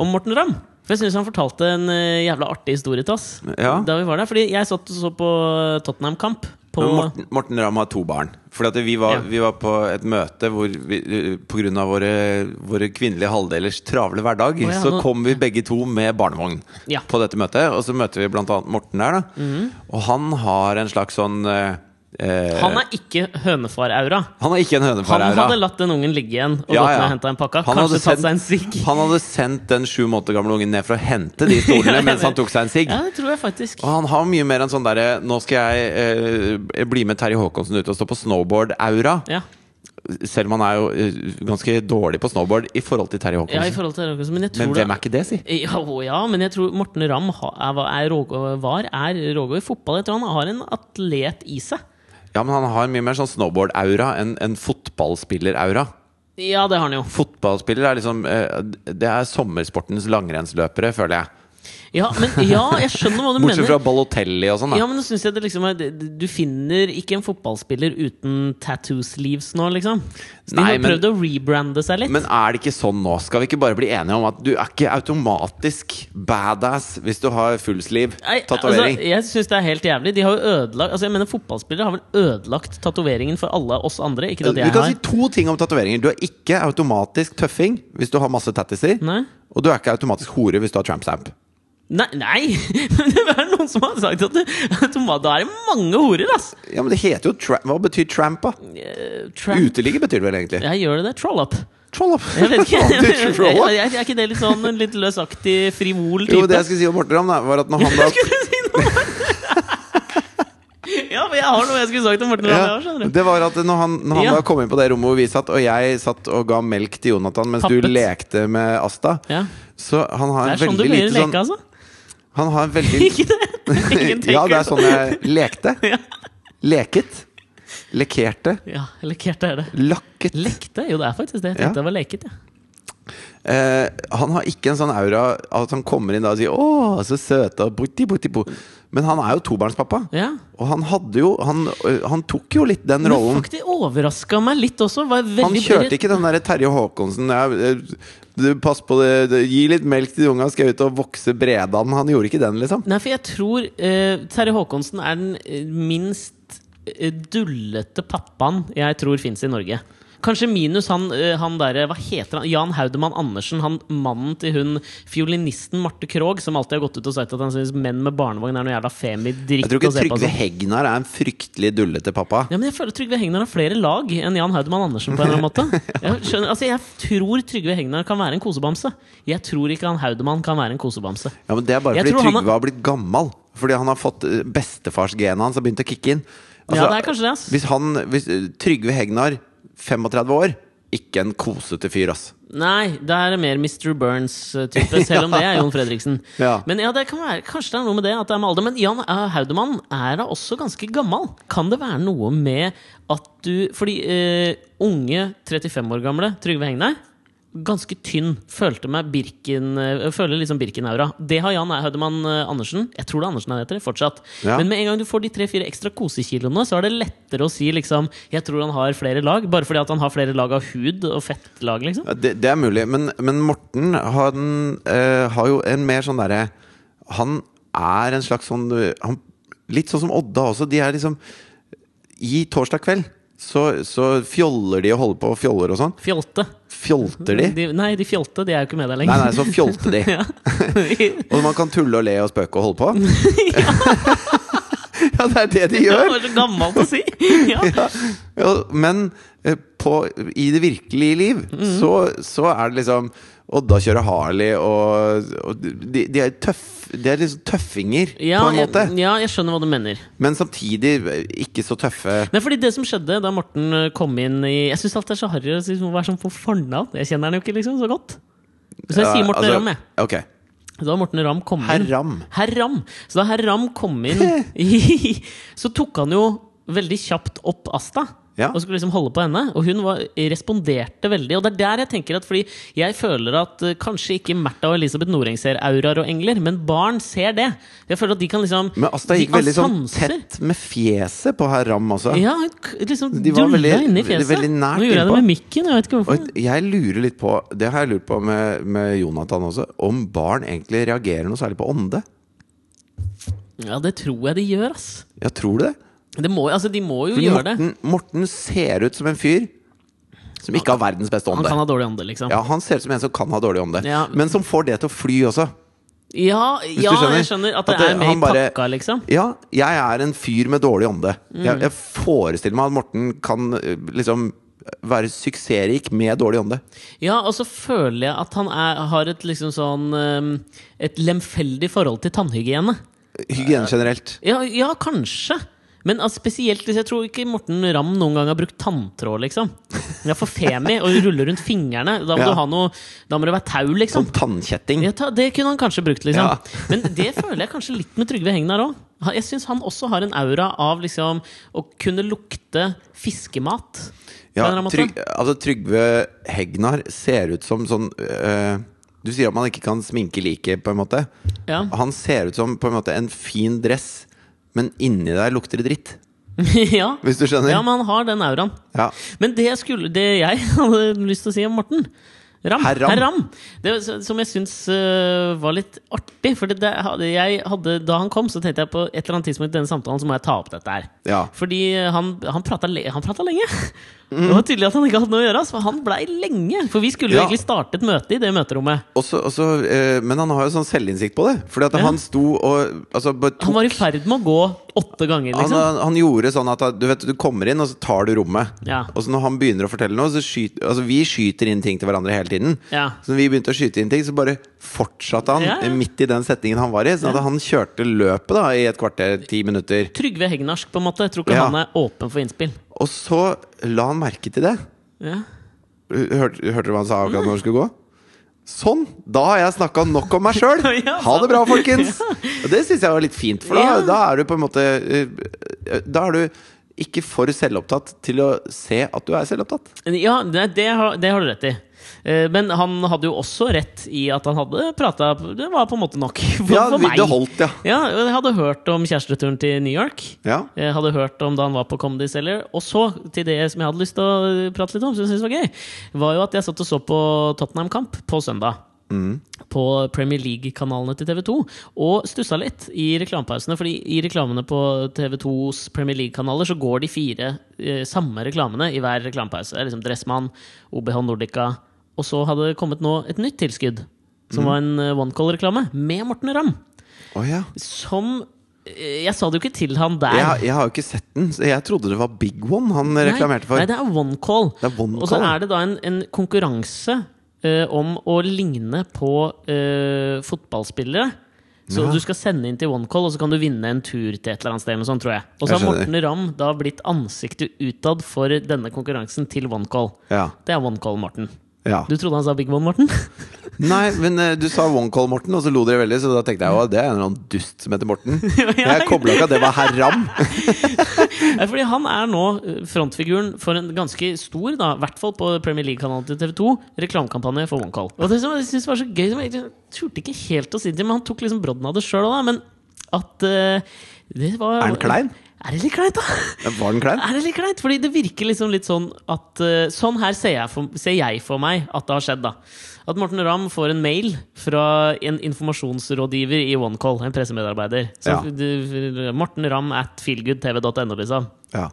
A: om Morten Ramm. For jeg syns han fortalte en eh, jævla artig historie til oss.
B: Ja.
A: Da vi var der Fordi jeg satt og så på Tottenham-kamp. På
B: Men Morten, Morten Ramm har to barn. Fordi at vi var,
A: Ja.
B: vi var på et møte hvor vi, pga. Våre, våre kvinnelige halvdelers travle hverdag,
A: Å ja,
B: så
A: nå-
B: kom vi begge to med barnevogn
A: Ja. Mhm.
B: på dette møtet. Og så møter vi blant annet Morten der, da. Og han har en slags sånn eh, eh,
A: Han er ikke hønefar-aura.
B: han er ikke en
A: Han
B: hønefar her, da.
A: hadde latt den ungen ligge igjen og
B: Ja,
A: gått ned
B: ja.
A: og henta en pakke.
B: Han
A: Kanskje
B: hadde
A: tatt seg en
B: sendt-
A: sigg.
B: Han hadde sendt den sju måneder gamle ungen ned for å hente de stolene
A: Ja, jeg
B: mens han
A: vet.
B: tok seg en sigg.
A: Ja, det tror jeg faktisk.
B: Og han har mye mer enn sånn derre 'nå skal jeg eh, bli med Terje Håkonsen ut og stå på snowboard'-aura.
A: Ja,
B: Selv om han er jo eh, ganske dårlig på snowboard i forhold til Terje
A: ja i
B: Håkonsen.
A: forhold til Roger, men jeg tror
B: men
A: det-
B: hvem er ikke det, si?
A: Ja, å ja, men jeg tror Morten Ramm ha- er, er Roger, var er Roger i fotball. Jeg tror han har en atlet i seg.
B: Ja, men han har mye mer sånn snowboard-aura enn en fotballspiller-aura.
A: Ja, det har han jo.
B: Fotballspiller er liksom eh, Det er sommersportens langrennsløpere, føler jeg.
A: Ja, men, ja jeg skjønner hva du
B: Bortsett
A: mener.
B: fra Balotelli og sånn, da.
A: Ja, men nå synes jeg det liksom er, det- Du finner ikke en fotballspiller uten tattoo sleeves nå, liksom. Så de
B: Nei,
A: har
B: men-
A: prøvd å rebrande seg litt.
B: Men er det ikke sånn nå? Skal vi ikke bare bli enige om at du er ikke automatisk badass hvis du har full sleeve
A: Nei,
B: tatovering?
A: Altså, jeg syns det er helt jævlig. De har jo ødelagt Altså jeg mener Fotballspillere har vel ødelagt tatoveringen for alle oss andre. Ikke at
B: Du
A: jeg
B: kan
A: har.
B: si to ting om tatoveringer. Du er ikke automatisk tøffing hvis du har masse tattiser.
A: Nei?
B: Og du er ikke automatisk hore hvis du har tramp stamp.
A: Nei, nei. men det er noen som har sagt at, det- at Tomada er mange horer, ass!
B: Ja, men det heter jo tramp. Hva betyr tramp, da?
A: Eh, Tramp.
B: Uteligger betyr det vel egentlig?
A: Jeg gjør det det. Troll up.
B: Troll up!
A: Jeg vet ikke.
B: Hva betyr troll up?
A: Er er ikke det litt sånn en litt løsaktig, frivol
B: Jo,
A: type?
B: det jeg skulle si om Morten Ramm, da, var at når han da
A: Skulle du si noe annet? Ja, for jeg har noe jeg skulle sagt om Morten Ramm. jeg har, skjønner du.
B: Det var at når han, når han
A: Ja.
B: da kom inn på det rommet hvor vi satt, og jeg satt og ga melk til Jonathan mens du
A: Tappet.
B: lekte med Asta
A: Ja.
B: Så han har
A: Det
B: en
A: er sånn du
B: veldig
A: pleier å
B: lite sånn
A: leke, altså?
B: Han har en veldig
A: Ikke det? Ingen tenker
B: Ja, det er sånn jeg lekte.
A: Ja.
B: Leket. Lekerte.
A: Ja, lekert er det.
B: Lakket.
A: Lekte? Jo, det er faktisk det. Jeg
B: Ja.
A: tenkte det var leket, ja.
B: Eh, han har ikke en sånn aura at han kommer inn da og sier 'Å, så søte', og buti, buti, bo. men han er jo tobarnspappa.
A: ja.
B: Og han hadde jo Han, ø, han tok jo litt den
A: Men
B: rollen.
A: faktisk overraska meg litt også. Var veldig
B: Han kjørte ikke den derre Terje Håkonsen ja, ø, du, 'Pass på det, det- gi litt melk til de unga, skal jeg ut og vokse Bredan'. Han gjorde ikke den, liksom.
A: Nei, for jeg tror eh, Terje Håkonsen er den eh, minst eh, dullete pappaen jeg tror fins i Norge. Kanskje minus han, eh, han derre Hva heter han? Jan Haudemann Andersen. Han mannen til hun fiolinisten Marte Krogh, som alltid har gått ut og sagt at han syns menn med barnevogn er noe jævla
B: Jeg
A: femi-dritt å
B: tror ikke
A: se på.
B: Trygve
A: Altså.
B: Hegnar er en fryktelig dullete pappa.
A: Ja, men jeg føler Trygve Hegnar har flere lag enn Jan Haudemann Andersen. på en eller annen måte Jeg, skjønner, altså, jeg tror Trygve Hegnar kan være en kosebamse. Jeg tror ikke han Haudemann kan være en kosebamse.
B: Ja, men Det er bare
A: Jeg
B: fordi
A: tror han
B: Trygve har blitt gammal. Fordi han har fått eh, bestefarsgenet hans har begynt å kicke inn. Altså,
A: Ja, det er kanskje det, ass.
B: Hvis, han, hvis eh, Trygve Hegnar, 35 år, ikke en kosete fyr, ass.
A: Nei, det er mer Mr. Burns-type, selv om det er Jon Fredriksen.
B: Ja.
A: Men ja, det kan være, kanskje det er noe med det at det er med alder. Men Jan eh, Haudemann er da også ganske gammel. Kan det være noe med at du Fordi eh, unge 35 år gamle Trygve Hegnar Ganske tynn. Følte meg Birken eh, Føler liksom Birken-aura. Det har Jan Haudemann eh, Andersen. Jeg tror det er Andersen han heter. fortsatt
B: Ja.
A: Men med en gang du får de tre-fire ekstra kosekiloene, så er det lettere å si liksom Jeg tror han har flere lag. Bare fordi at han har flere lag av hud og fettlag, liksom.
B: Ja, Det, det er mulig. Men, men Morten han, eh, har jo en mer sånn derre Han er en slags sånn eh, han, Litt sånn som Odda også. De er liksom I torsdag kveld så, så fjoller de og holder på og fjoller og sånn.
A: Fjolte.
B: Fjolter de?
A: De, nei, de fjolte. De er jo ikke med der
B: Nei,
A: lenger.
B: nei, så fjolter de. Og man kan tulle og le og spøke og holde på? ja, det er det de
A: det
B: gjør!
A: var så gammelt å si! Ja.
B: Ja, men eh, på, i det virkelige liv
A: Mhm.
B: så, så er det liksom Odda kjører Harley, og, og de, de, er tøff, de er liksom tøffinger,
A: Ja,
B: på en måte.
A: Jeg, ja, jeg skjønner hva du mener.
B: Men samtidig eh, ikke så tøffe.
A: Nei, fordi Det som skjedde da Morten eh, kom inn i Jeg syns alt er så harry å si- å være sånn på fornavn. Jeg kjenner han jo ikke liksom så godt. Så jeg sier Morten
B: altså,
A: Ramm, jeg.
B: Ok.
A: Så Da Morten Ramm kom
B: Herr
A: inn
B: Ramm.
A: Herr Ramm. Så da herr Ramm kom inn, i, så tok han jo veldig kjapt opp Asta.
B: Ja.
A: Og skulle liksom holde på henne. Og hun var, responderte veldig. Og det er der jeg tenker at Fordi jeg føler at eh, kanskje ikke Märtha og Elisabeth Noreng ser auraer og engler, men barn ser det. Jeg føler at de kan liksom
B: Men Asta
A: de
B: gikk veldig
A: har
B: sånn
A: sanser.
B: tett med fjeset på herr Ramm også.
A: Ja, hun k- liksom
B: De var
A: dulla
B: veldig-
A: inn i fjeset.
B: veldig nært
A: Nå gjorde jeg det
B: innpå.
A: med mikken. Jeg vet ikke hvorfor.
B: Og jeg lurer litt på Det har jeg lurt på med, med Jonathan også. Om barn egentlig reagerer noe særlig på ånde?
A: Ja, det tror jeg de gjør, ass.
B: Ja, tror du det?
A: Det må, altså, de må jo
B: For
A: gjøre det.
B: Morten, Morten ser ut som en fyr som ikke har verdens beste
A: Han
B: ånde.
A: kan ha dårlig ånde, liksom.
B: Ja, Han ser ut som en som kan ha dårlig ånde,
A: Ja.
B: men som får det til å fly også.
A: Ja,
B: Hvis
A: ja
B: du skjønner?
A: jeg skjønner at det,
B: At det-
A: er med
B: han
A: i
B: bare-
A: pakka, liksom.
B: Ja, jeg er en fyr med dårlig ånde. Jeg,
A: Mm.
B: jeg forestiller meg at Morten kan eh, liksom være suksessrik med dårlig ånde.
A: Ja, og så føler jeg at han er, har et liksom sånn um, Et lemfeldig forhold til tannhygiene.
B: Hygiene generelt.
A: Ja, ja kanskje. Men altså, spesielt hvis jeg tror ikke Morten Ramm noen gang har brukt tanntråd, liksom. Ja, for femi, og rulle rundt fingrene. Da må
B: Ja.
A: du ha noe Da må det være tau, liksom.
B: Som tannkjetting.
A: Ja, ta, det kunne han kanskje brukt, liksom.
B: Ja.
A: Men det føler jeg kanskje litt med Trygve Hegnar òg. Jeg syns han også har en aura av liksom å kunne lukte fiskemat. på en
B: Ja,
A: eller annen måte.
B: Tryg, altså Trygve Hegnar ser ut som sånn øh, Du sier at man ikke kan sminke liket, på en måte.
A: Ja.
B: Han ser ut som på en måte en fin dress, men inni der lukter det dritt.
A: ja.
B: Hvis du skjønner?
A: ja, men han har den auraen.
B: Ja.
A: Men det jeg, skulle, det jeg hadde lyst til å si om Morten, Ram.
B: Herr Ram.
A: Herr Ram. Det, var- som jeg syns øh, var litt artig. For det, det hadde, jeg hadde, da han kom, så tenkte jeg på et eller annet tidspunkt i denne samtalen så må jeg ta opp dette her.
B: Ja.
A: Fordi eh, han, han, prata, le, han prata lenge. Det var tydelig at han ikke hadde noe å gjøre. ass, For han blei lenge. For vi skulle jo
B: Ja.
A: egentlig starte et møte i det møterommet.
B: Også, også, eh, men han har jo sånn selvinnsikt på det. Fordi at
A: Ja.
B: han sto og altså, bare tok
A: Han var i ferd med å gå åtte ganger,
B: han,
A: liksom.
B: han, han gjorde sånn at du, vet, du kommer inn, og så tar du rommet.
A: Ja.
B: Og så når han begynner å fortelle noe, så skyter altså, vi skyter inn ting til hverandre hele tiden.
A: Ja.
B: Så når vi begynte å skyte inn ting, så bare fortsatte han
A: Ja, ja.
B: eh, midt i den setningen han var i. Sånn at han kjørte løpet da i et kvarter, ti minutter.
A: Trygve Hegnarsk, på en måte. Jeg tror ikke
B: Ja.
A: han er åpen for innspill.
B: Og så la han merke til det.
A: Ja.
B: Hørte, hørte du hva han sa akkurat når han skulle gå? Sånn! Da har jeg snakka nok om meg sjøl!
A: Ja,
B: Ha det bra, folkens! Og det syns jeg var litt fint, for da,
A: Ja.
B: da er du på en måte eh, Da er du ikke for selvopptatt til å se at du er selvopptatt.
A: Ja, det, det, har, det har du rett i. Eh, Men han hadde jo også rett i at han hadde prata Det var på en måte nok for,
B: Ja,
A: for meg.
B: det holdt, ja.
A: Ja, og jeg hadde hørt om kjæresteturen til New York.
B: ja.
A: Jeg hadde hørt om da han var på Comedy Cellar. Og så, til det som jeg hadde lyst til å prate litt om, som jeg syntes var gøy, var jo at jeg satt og så på Tottenham-kamp på søndag.
B: Mm.
A: På Premier League-kanalene til TV2. Og stussa litt i reklamepausene. Fordi i reklamene på TV2s Premier League-kanaler så går de fire eh, samme reklamene i hver reklamepause. Det er liksom Dressmann, OBH Nordica. Og så hadde det kommet nå et nytt tilskudd. Som
B: Mm.
A: var en eh, OneCall-reklame med Morten Ramm.
B: Å ja.
A: Som eh, Jeg sa det jo ikke til han der.
B: Jeg, jeg har jo ikke sett den, så jeg trodde det var Big One han reklamerte for.
A: Nei, det er one call.
B: Det er one
A: og så
B: call.
A: er det da en, en konkurranse eh, om å ligne på eh, fotballspillere. Så
B: Ja.
A: du skal sende inn til one call, og så kan du vinne en tur til et eller annet sted. Med sånn, tror jeg. Og så
B: Jeg
A: har
B: skjønner.
A: Morten Ramm da blitt ansiktet utad for denne konkurransen til one call.
B: Ja,
A: Det er one call, Morten.
B: ja.
A: Du trodde han sa Big One, Morten?
B: Nei, men eh, du sa One Call Morten, og så lo dere veldig, så da tenkte jeg at det er en eller annen dust som heter Morten. Jeg kobla ikke at det var herr Ram.
A: Nei, fordi han er nå eh, frontfiguren for en ganske stor, da, i hvert fall på Premier League-kanalen til TV 2, reklamekampanje for OneCall. Og det som jeg synes var så gøy, som jeg egentlig turte ikke helt å si det, men han tok liksom brodden av det sjøl òg, men at eh, det var,
B: Er den klein?
A: Er det litt kleint, da?
B: Var den klein?
A: Er det litt kleint? Fordi det virker liksom litt sånn at eh, Sånn her ser jeg, for, ser jeg for meg at det har skjedd, da. At Morten Ramm får en mail fra en informasjonsrådgiver i OneCall, en pressemedarbeider. Så,
B: Ja.
A: du- Morten Ramm at feelgoodtv.no, liksom.
B: Ja.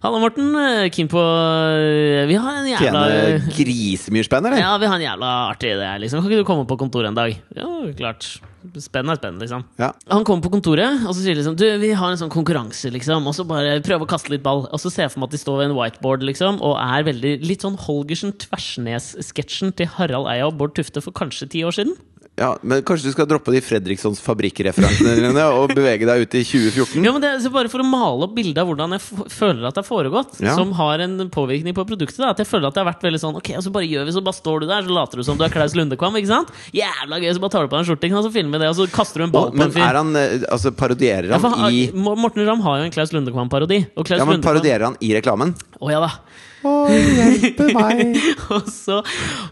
A: Halla, Morten. Eh, Keen på eh, Vi har en jævla
B: Tjene grisemye spenn, eller?
A: Ja, vi har en jævla artig idé, liksom. Kan ikke du komme på kontoret en dag? Ja, klart. Spenn er spenn, liksom.
B: Ja.
A: Han kommer på kontoret og så sier de liksom Du, vi har en sånn konkurranse, liksom. Og så bare prøve å kaste litt ball. Og så ser jeg for meg at de står ved en whiteboard liksom og er veldig litt sånn Holgersen-Tversnes-sketsjen til Harald Eia og Bård Tufte for kanskje ti år siden.
B: Ja, men kanskje du skal droppe de Fredrikssons fabrikkreferansene dine og bevege deg ut i 2014?
A: Ja, men det er så Bare for å male opp bildet av hvordan jeg f føler at det har foregått,
B: Ja.
A: som har en påvirkning på produktet. Da, at jeg føler at det har vært veldig sånn Ok, og så bare gjør vi så bare står du der, så later du som du er Klaus Lundekvam. ikke sant? Jævla gøy! Så bare tar du på deg en skjorte, ikke sant? så filmer vi det, og så kaster du en ball
B: Og,
A: på
B: men
A: en fyr.
B: er han eh, Altså, parodierer
A: Ja, for
B: han
A: han,
B: i
A: Mo- Morten Ramm har jo en Klaus Lundekvam-parodi. Og Klaus
B: Ja, men
A: Lundekvam
B: parodierer han i reklamen?
A: Å ja da.
B: Å, hjelpe meg!
A: og, så,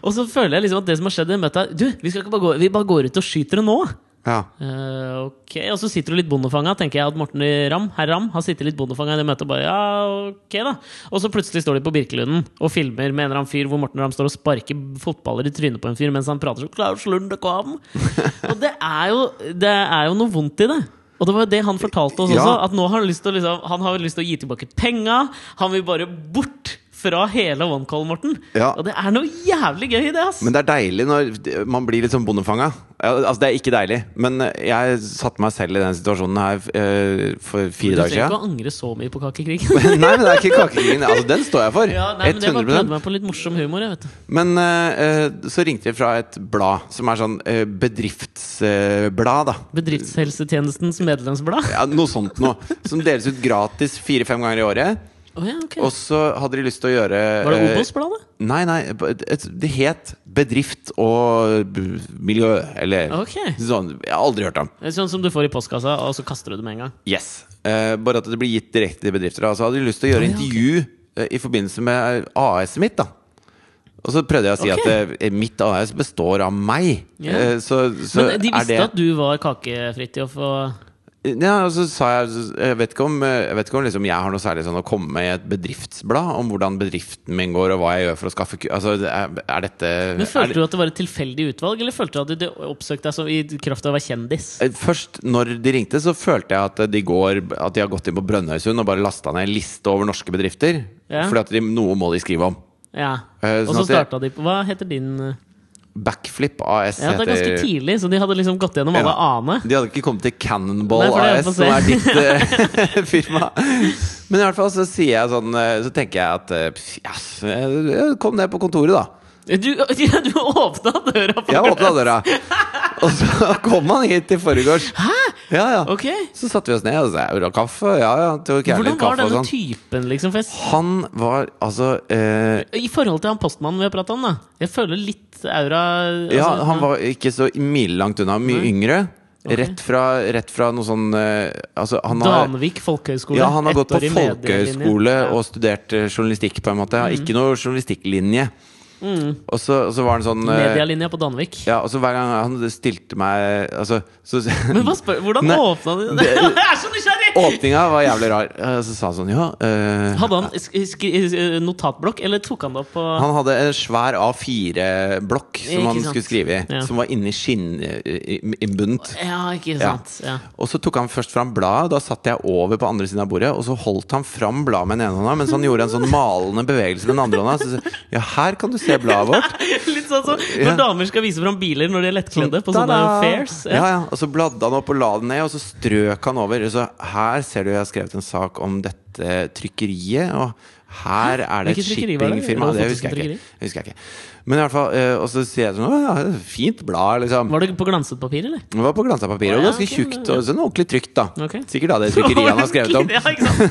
A: og så føler jeg liksom at det som har skjedd i det møtet, er Du, vi, skal ikke bare gå, vi bare går ut og skyter det nå.
B: Ja.
A: Eh, ok, Og så sitter du litt bondefanga, tenker jeg at Morten Ramm herr Ramm, har sittet litt bondefanga i det møtet. Og bare, ja, ok da Og så plutselig står de på Birkelunden og filmer med en eller annen fyr hvor Morten Ramm står og sparker fotballer i trynet på en fyr mens han prater så Klaus Lund kom. Og det er, jo, det er jo noe vondt i det. Og det var jo det han fortalte oss
B: Ja.
A: også. At nå har han lyst til å, liksom, han har jo lyst til å gi tilbake penga. Han vil bare bort fra hele OneCall, Morten.
B: Ja.
A: Og det er noe jævlig gøy i det, ass!
B: Men det er deilig når man blir litt sånn bondefanga. Ja, Altså, det er ikke deilig, men eh, jeg satte meg selv i den situasjonen her eh, for
A: du
B: fire dager
A: trenger ikke
B: siden.
A: å angre så mye på kakekrigen.
B: Nei, men det er ikke kakekrigen. Altså, den står jeg for.
A: Ja, nei, men jeg bare
B: 100
A: prøvde meg på litt morsom humor. Jeg, vet du.
B: Men eh, eh, så ringte vi fra et blad som er sånn eh, bedriftsblad, da.
A: Bedriftshelsetjenestens medlemsblad.
B: Ja, noe sånt noe. Som deles ut gratis fire-fem ganger i året.
A: Å ja, ok.
B: Og så hadde de lyst til å gjøre
A: Var det
B: eh,
A: Obos-bladet?
B: Nei, nei. et- et- Det het Bedrift og b- miljø, eller
A: Ok.
B: sånn. Jeg har aldri hørt om.
A: Det er Sånn som du får i postkassa, og så kaster du det med en gang.
B: Yes. Eh, bare at det blir gitt direkte til bedrifter. da. Så hadde de lyst til å gjøre
A: Ja, ja, ok.
B: intervju eh, i forbindelse med AS-et mitt. da Og så prøvde jeg å si
A: Ok.
B: at eh, mitt AS består av meg.
A: Ja.
B: Eh, så så
A: Men de
B: er
A: visste
B: det Eh,
A: at du var Kakefritjof og
B: Ja, og så sa jeg Jeg vet ikke om, jeg, vet ikke om liksom, jeg har noe særlig sånn å komme med i et bedriftsblad om hvordan bedriften min går, og hva jeg gjør for å skaffe ku... Altså, er, er dette
A: Men
B: er
A: Følte
B: det-
A: du at det var et tilfeldig utvalg, eller følte du at du oppsøkte deg som i kraft av å være kjendis?
B: Eh, Først når de ringte, så følte jeg at de, går, at de har gått inn på Brønnøysund og bare lasta ned en liste over norske bedrifter.
A: Ja.
B: Fordi at de, noe må de skrive om.
A: Ja.
B: Eh,
A: Og
B: sånn
A: så
B: at jeg-
A: starta de på Hva heter din eh?
B: Backflip AS
A: Ja, det er ganske tidlig, så de hadde liksom gått gjennom alle
B: Ja.
A: ane.
B: De hadde ikke kommet til Cannonball
A: Nei, for det er
B: AS,
A: på
B: som er
A: se.
B: ditt eh, firma. Men i hvert fall så sier jeg sånn eh, Så tenker jeg at eh, pff, yes, jeg- jeg kom ned på kontoret, da.
A: Du, ja, du åpna døra på
B: Jeg åpna døra. Og så kom han hit i forgårs. Ja, ja.
A: Ok.
B: Så satte vi oss ned og sa vil du ha kaffe? Ja, ja. Tok gjerne
A: Hvordan
B: litt
A: var
B: kaffe og
A: denne
B: sånn.
A: typen, liksom? For jeg, s-
B: Han var altså eh,
A: I forhold til han postmannen vi har prata om, da. Jeg føler litt aura altså,
B: Ja, han var ikke så milelangt unna. Mye yngre. Rett, fra, rett fra noe sånn eh, Altså, han har
A: Danvik folkehøgskole.
B: Ja, han har gått på
A: ettårig medielinje.
B: folkehøyskole
A: Ja. Mm.
B: og studert eh, journalistikk, på en måte. Har Ikke noe journalistikklinje. Og, så, og så var han sånn eh,
A: Medialinja på Danvik.
B: ja, og så Hver gang han stilte meg altså, så,
A: Men hva spør, hvordan
B: Nei,
A: åpna de det? Jeg er så nysgjerrig!
B: Åpninga var jævlig rar. Eh, Så sa han sånn Ja. eh,
A: Hadde han sk skri notatblokk, eller tok han det opp på
B: han hadde en svær A4-blokk som
A: Ikke
B: han
A: sant.
B: skulle skrive i.
A: Ja.
B: Som var inni eh, skinninnbundet.
A: Ja, ikke sant. Ja.
B: Og så tok han først fram bladet, da satt jeg over på andre siden av bordet, og så holdt han fram bladet med den ene hånda, mens han gjorde en sånn malende bevegelse med den andre hånda. Så, sa jeg, ja, her kan du se bladet vårt.
A: Litt sånn som når
B: Ja.
A: damer skal vise fram biler når de er lettkledde på sånne
B: Ta-da!
A: fairs.
B: Ja, ja. Og så bladde han opp og la den ned, og så strøk han over. Så her ser du jeg har skrevet en sak om dette trykkeriet, og her er det et
A: Hvilket trykkeri var det?
B: shippingfirma.
A: Rolf
B: Det husker jeg
A: Ottosen-trykkeri?
B: ikke. Det husker jeg ikke. Men i hvert fall, eh, og så sier jeg sånn Å ja, fint blad, liksom.
A: Var det på glanset papir, eller?
B: Det var på glansa papir, og
A: Ja,
B: ganske
A: ok,
B: tjukt.
A: ja.
B: Og sånn ordentlig trygt, da.
A: Ok.
B: Sikkert da det trykkeriet han har skrevet om.
A: Ja, ikke sant?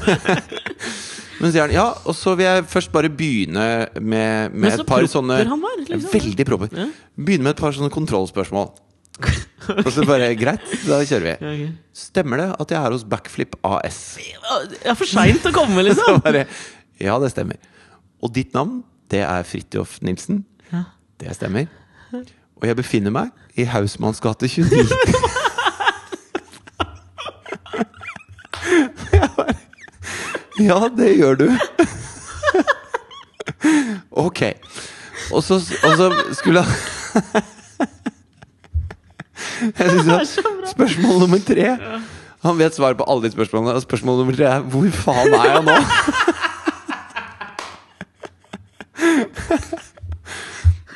B: Men sier han, ja, og så vil jeg først bare begynne med, med
A: Men så
B: et par
A: proper
B: sånne
A: han var, liksom.
B: Veldig proper.
A: Ja.
B: Begynne med et par sånne kontrollspørsmål. Og så bare greit, da kjører vi.
A: ok.
B: Stemmer det at jeg er hos Backflip AS?
A: Det er for seint å komme, liksom.
B: Så bare, ja, det stemmer. Og ditt navn, det er Fridtjof Nilsen. Det stemmer. Og jeg befinner meg i Hausmanns gate 29. Jeg bare, Ja, det gjør du. Ok. Og så, og så skulle han Jeg synes det var Spørsmål nummer tre. Han vet svaret på alle de spørsmålene. Og spørsmål nummer tre er hvor faen er jeg nå?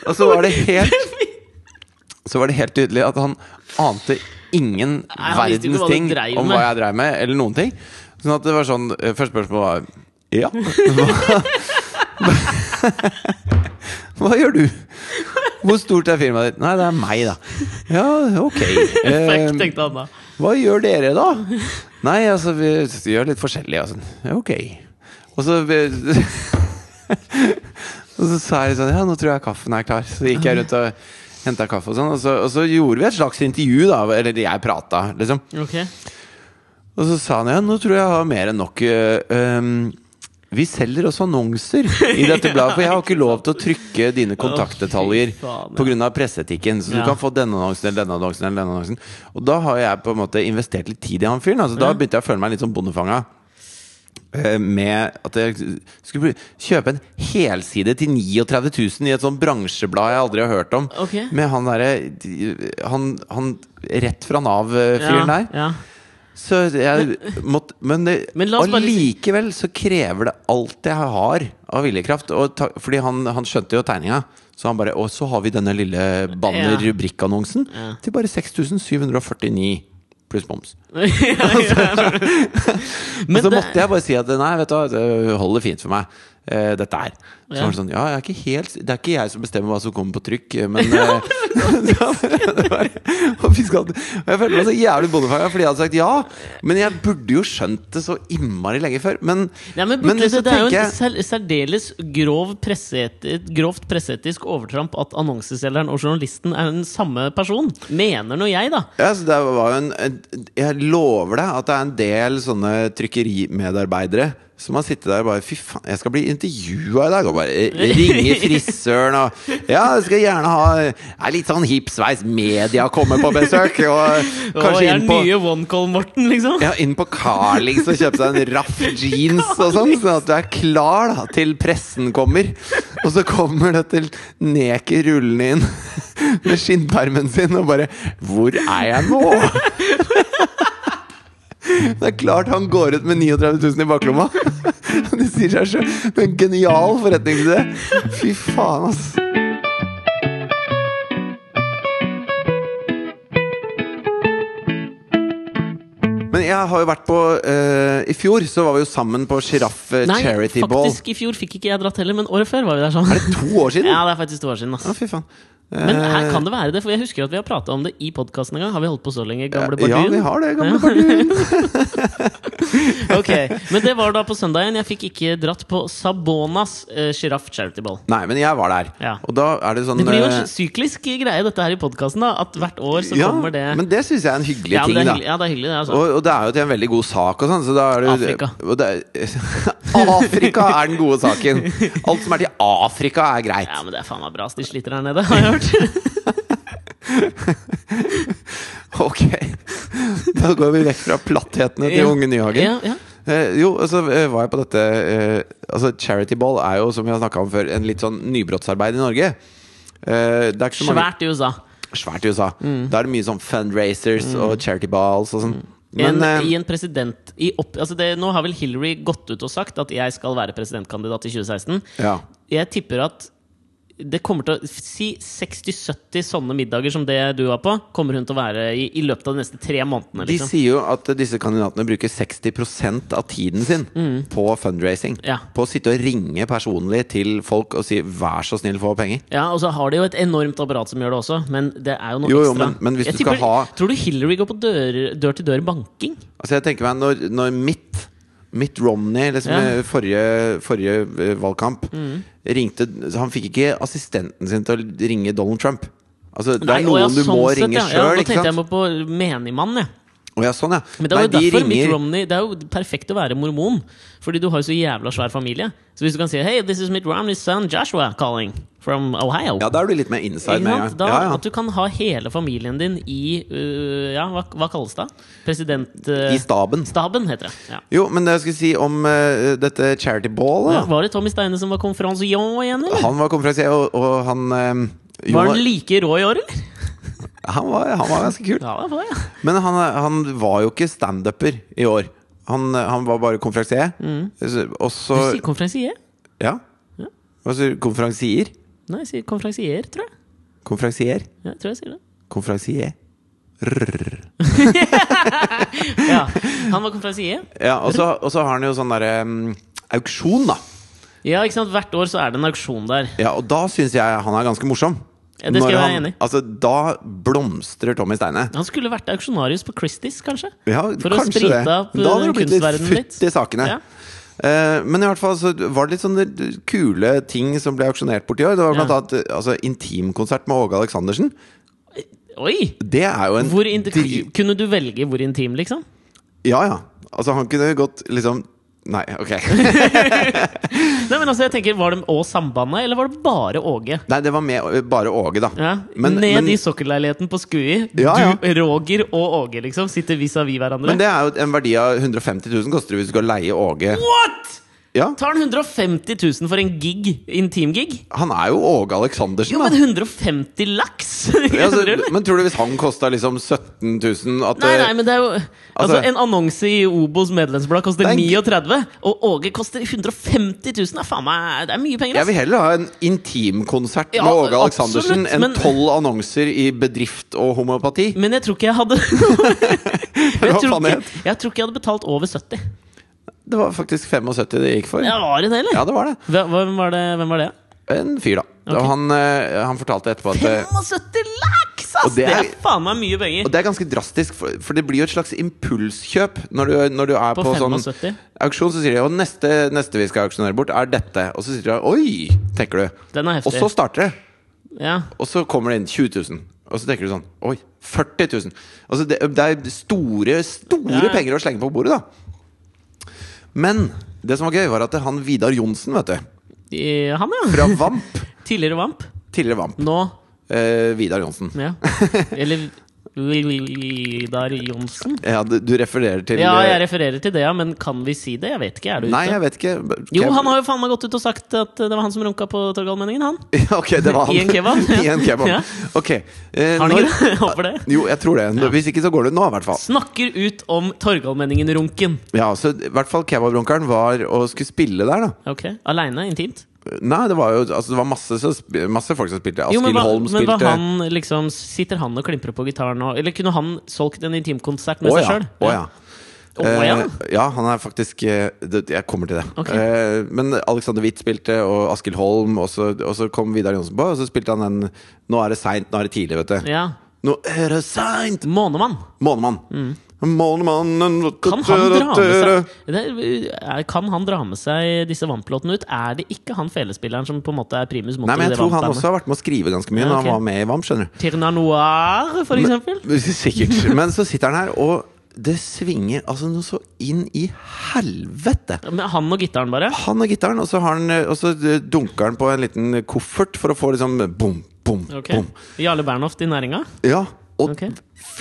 B: Og så var det helt Så var det helt tydelig at han ante ingen
A: han visste ikke
B: verdens
A: hva du
B: ting
A: dreiv
B: om
A: med.
B: hva jeg dreiv med, eller noen ting. Sånn at det var sånn eh, Første spørsmål var Ja. Hva, hva gjør du? Hvor stort er firmaet ditt? Nei, det er meg, da. Ja, ok.
A: Fuck,
B: Eh,
A: tenkte han da.
B: hva gjør dere da? Nei, altså, vi gjør litt forskjellig og sånn. Ja, ok. Og så Og så sa jeg sånn, ja, nå tror jeg kaffen er klar. Så gikk jeg rundt og henta kaffe og sånn. Og så, og så gjorde vi et slags intervju, da. Eller jeg prata, liksom.
A: Ok.
B: Og så sa han ja, nå tror jeg jeg har mer enn nok. øh, øhm, vi selger også annonser i dette bladet, for jeg har ikke lov til å trykke dine kontaktdetaljer
A: Å, fy faen, ja.
B: pga. presseetikken. Så du
A: Ja.
B: kan få denne annonsen eller denne annonsen. eller denne annonsen Og da har jeg på en måte investert litt tid i han fyren. Altså, da
A: Ja.
B: begynte jeg å føle meg litt sånn bondefanga. øh, Med at jeg skulle bli- kjøpe en helside til 39 000 i et sånt bransjeblad jeg aldri har hørt om.
A: Ok.
B: Med han derre han, han rett fra Nav-fyren der.
A: Ja.
B: Så jeg måtte, men det,
A: Men la oss bare
B: allikevel så krever det alt jeg har av viljekraft. Og ta, fordi han, han skjønte jo tegninga. Så han bare Og så har vi denne lille banner-rubrikkannonsen
A: Ja.
B: til bare 6749 pluss moms.
A: Ja,
B: Altså.
A: ja.
B: Men
A: Men
B: så
A: det-
B: måtte jeg bare si at nei, vet du, hva, det holder fint for meg. eh, dette her. Så
A: Ja.
B: var det sånn Ja, jeg er ikke helt s- Det er ikke jeg som bestemmer hva som kommer på trykk, men eh, det var- og fisk hadde- og Jeg følte meg så jævlig bondefanga fordi jeg hadde sagt ja. Men jeg burde jo skjønt det så innmari lenge før. Men,
A: Nei, men, Butler,
B: så
A: det, det er jo
B: tenker
A: en
B: jeg-
A: sær- særdeles grov presseet, et grovt presseetisk overtramp at annonseselgeren og journalisten er den samme person. Mener nå jeg, da.
B: Ja, så det var jo en, en Jeg lover deg at det er en del sånne trykkerimedarbeidere Som har sittet der og bare Fy faen, jeg skal bli intervjua i dag! Og bare eh, ringe frisøren og Ja, jeg skal gjerne ha er litt sånn hipp sveis. Media kommer på besøk! Og
A: Å,
B: kanskje
A: jeg er
B: inn på
A: nye One Call Morten, liksom.
B: ja, inn på Carlings og kjøpe seg en raff jeans og sånn, sånn at du er klar da, til pressen kommer. Og så kommer dette neket rullende inn med skinnpermen sin og bare Hvor er jeg nå? Det er klart han går ut med 39 000 i baklomma. Det sier seg sjøl. En genial forretningsidé. Fy faen, ass. Men jeg har jo vært på eh, I fjor så var vi jo sammen på Sjiraff
A: Nei,
B: Charity Ball.
A: faktisk i fjor fikk ikke jeg dratt heller, men året før var vi der
B: Er
A: sammen.
B: det to år siden?
A: Ja, det er faktisk to år siden.
B: Å,
A: ass
B: fy faen.
A: Men
B: Eh,
A: her kan det være det, for jeg husker at vi har prata om det i podkasten en gang. Har vi holdt på så lenge? Gamle
B: Ja,
A: Bardun?
B: vi har det, gamle Bardun.
A: Ok, Men det var da på søndagen. Jeg fikk ikke dratt på Sabonas sjiraff charity ball.
B: Nei, men jeg var der.
A: Ja.
B: Og da er det sånn
A: Det blir jo
B: eh,
A: en syklisk greie, dette her i podkasten. At hvert år så
B: ja,
A: kommer det
B: Men det syns jeg er en hyggelig
A: ja, men det er hyggelig,
B: ting, da.
A: ja, det er hyggelig, det. Altså.
B: Og, og det er jo til en veldig god sak og sånn, så da er det jo-
A: Afrika.
B: og det er, Afrika er den gode saken! Alt som er til Afrika, er greit.
A: Ja, men det er faen meg bra. ass. De sliter her nede, har jeg hørt.
B: Ok. Da går vi vekk fra platthetene til
A: Ja.
B: Unge Nyhagen.
A: Ja, ja.
B: Eh, jo, og så eh, var jeg på dette eh, Altså, Charity Ball er jo, som vi har snakka om før, en litt sånn nybrottsarbeid i Norge. Eh, det er ikke så mange
A: Svært Mm. i USA.
B: Svært i USA. Da er det mye sånn fundraisers og charity balls og sånn. Men
A: Mm. en,
B: eh,
A: I en president i opp, altså det, Nå har vel Hillary gått ut og sagt at jeg skal være presidentkandidat i 2016.
B: ja.
A: Jeg tipper at det kommer til å Si 60-70 sånne middager som det du var på, kommer hun til å være i, i løpet av de neste tre månedene.
B: De
A: Liksom.
B: sier jo at eh, disse kandidatene bruker 60 av tiden sin på fundraising.
A: Mm. Ja.
B: På å sitte og ringe personlig til folk og si 'vær så snill, få penger'.
A: Ja, Og så har de jo et enormt apparat som gjør det også, men det er jo noe
B: Jo, jo,
A: ekstra.
B: men- men hvis
A: Jeg
B: du skal ha-
A: Tror du Hillary går på dør-til-dør-banking?
B: Altså jeg tenker meg når, når mitt Mitt Romney, liksom
A: Ja. Mm.
B: eh, forrige, forrige eh, valgkamp Ringte, så Han fikk ikke assistenten sin til å ringe Donald Trump Altså det er
A: Nei, å ja,
B: noen du
A: sånn
B: må
A: sett,
B: ringe
A: ja. Ja,
B: selv,
A: Nå
B: ikke
A: tenkte
B: sant?
A: jeg på menigmann, jeg.
B: Å ja, sånn ja
A: Men det, var
B: Nei,
A: jo
B: de
A: derfor Mitt
B: ringer
A: Romney, det er jo perfekt å være mormon, fordi du har jo så jævla svær familie. Så hvis du kan si 'Hey, this is Mitt Romneys son Joshua calling from Ohio'
B: Ja, da er du litt mer inside
A: Ikke
B: med en
A: sant?
B: gang.
A: Da,
B: ja, ja.
A: At du kan ha hele familien din i øh, Ja, hva, hva kalles det?
B: I
A: Presidentstaben,
B: staben
A: Staben heter det. Ja.
B: Jo, men det jeg skulle si om eh, dette charity ball da.
A: Var det Tommy Steine som var konferansier igjen, eller?
B: Han var konferansier, og, og han eh, jo,
A: Var han like rå i år, eller?
B: han, var, han var ganske kul
A: Ja, det var jeg.
B: Men han, eh, han var jo ikke stand-upper i år han, eh, han var bare konferansier Og så
A: Mm. Du sier konferansier?
B: Ja.
A: Ja.
B: Altså konferansier.
A: Nei, jeg sier konferansier, tror jeg.
B: Konferansier.
A: Ja, jeg tror jeg sier det.
B: Konferansier. Rrr.
A: Ja, Han var konferansier.
B: Ja, og så, og så har han jo sånn derre mm, auksjon, da.
A: Ja, ikke sant? Hvert år så er det en auksjon der.
B: Ja, og da syns jeg han er ganske morsom.
A: Ja, det skal
B: Når
A: jeg være
B: han-
A: enig i.
B: Altså, da blomstrer Tommy Steine.
A: Han skulle vært auksjonarius på Christies, kanskje?
B: Ja,
A: For å
B: kanskje
A: sprite
B: det.
A: opp,
B: Da hadde det blitt litt
A: kunstverdenen litt.
B: futt i sakene.
A: Ja.
B: Eh, men i hvert fall så var det litt sånne kule ting som ble auksjonert bort i år. Det var blant
A: Ja.
B: annet eh, altså, intimkonsert med Åge Aleksandersen.
A: Oi!
B: Det er jo en
A: Hvor in-
B: dri-
A: Kunne du velge hvor intim, liksom?
B: Ja, ja. Altså, han kunne gått liksom Nei, ok.
A: Nei, men altså, jeg tenker, Var det òg Sambandet, eller var det bare Åge?
B: Nei, det var med eh, bare Åge, da.
A: Ja,
B: Men-
A: Ned
B: men-
A: i sokkelleiligheten på Skui.
B: Ja, ja.
A: Du, Roger og Åge liksom sitter vis-à-vis hverandre.
B: Men det er jo en verdi av 150 000 koster det hvis du skal leie Åge.
A: What?!
B: Ja,
A: Tar han 150 000 for en gig? Intimgig?
B: Han er jo Åge Aleksandersen,
A: Jo, men
B: da.
A: 150 laks!
B: Ja, altså,
A: Skjønner du?
B: men tror du hvis han kosta liksom 17 000 at
A: Nei,
B: eh,
A: nei, men det er jo Altså,
B: altså-
A: En annonse i Obos medlemsblad koster
B: Det er en-
A: 39, og Åge koster 150 000. Det er, faen meg, det er mye penger, altså.
B: Jeg
A: ass!
B: vil heller ha en intimkonsert
A: Ja,
B: med Åge
A: absolutt,
B: Aleksandersen enn
A: men-
B: tolv annonser i bedrift og homopati.
A: Men jeg tror ikke jeg hadde jeg,
B: Hva
A: tror
B: faen
A: ikke,
B: het?
A: jeg tror ikke jeg hadde betalt over 70.
B: Det var faktisk 75 det gikk for.
A: Ja, var det det, eller?
B: Ja, det var det.
A: Hva- Hvem var det? Hvem var det?
B: En fyr, da. Og han, eh, han fortalte etterpå at eh,
A: 75 laks, ass!
B: Og
A: Det
B: det
A: er,
B: er-
A: faen meg mye penger.
B: Og det er ganske drastisk, for, for det blir jo et slags impulskjøp når du, når du er
A: På
B: på, sånn
A: 75.
B: auksjon. Så sier de at neste, neste vi skal auksjonere bort, er dette. Og så sier de oi, tenker du.
A: Den er
B: Og
A: heftig.
B: så starter det.
A: ja.
B: Og så kommer det inn 20 000. Og så tenker du sånn oi, 40 000. Altså det, det er store, store
A: Ja, ja.
B: penger å slenge på bordet, da. Men Det som var gøy, var at han Vidar Johnsen, vet du.
A: Eh, Han, ja.
B: Fra Vamp.
A: Tidligere Vamp.
B: Tidligere Vamp.
A: Nå
B: Eh, Vidar Johnsen.
A: Ja. Eller Vidar Johnsen.
B: Ja, du, du refererer til
A: Ja, jeg
B: eh,
A: refererer til det, ja, men kan vi si det? Jeg vet ikke. Er du ute?
B: Nei, jeg vet ikke. Kan
A: Jo,
B: jeg-
A: han har jo faen meg gått ut og sagt at det var han som runka på Torgallmenningen, han.
B: Ja, ok, det var han.
A: I en kebab.
B: I en kebab.
A: Ja.
B: Ok. eh,
A: Har han
B: når-
A: ikke det? Jeg Håper det.
B: Jo, jeg tror det. Hvis ikke så går det nå, i hvert fall.
A: Snakker ut om Torgallmenningen-runken.
B: Ja, så i hvert fall kebabrunkeren var og skulle spille der, da.
A: Ok, Aleine? Intimt?
B: Nei, det var jo altså, det var masse, som sp- masse folk som spilte.
A: Jo, men
B: Askild
A: hva,
B: Holm
A: men
B: spilte.
A: hva han liksom Sitter han og klimprer på gitaren nå? Eller kunne han solgt en intimkonsert med
B: Å
A: seg
B: ja.
A: sjøl?
B: Å ja.
A: Å ja.
B: Eh, ja, han er faktisk eh, det, Jeg kommer til det.
A: Ok.
B: Eh, men Alexander Witt spilte, og Askild Holm, og så, og så kom Vidar Johnsen på, og så spilte han den 'Nå er det seint, nå er det tidlig', vet du.
A: ja.
B: Nå er det seint!
A: Månemann.
B: Månemann. Månemannen
A: Mm. Kan han dra med seg det er, Kan han dra med seg disse vamplåtene ut? Er det ikke han felespilleren som på en måte er primus motor
B: Nei, men
A: i
B: jeg
A: det
B: tror han
A: vampbandet?
B: også har vært med å skrive ganske mye
A: Ja,
B: når
A: ok.
B: han var med i VAM, skjønner du.
A: Tirna Noir, for eksempel?
B: Sikkert. Men så sitter han her, og det svinger altså noe så inn i helvete!
A: Men han og gitaren, bare?
B: Han har gitaren, og så, har han, og så eh, dunker han på en liten koffert for å få liksom bom, bom,
A: Ok.
B: bom.
A: Jarle Bernhoft i næringa?
B: Ja, og
A: Ok.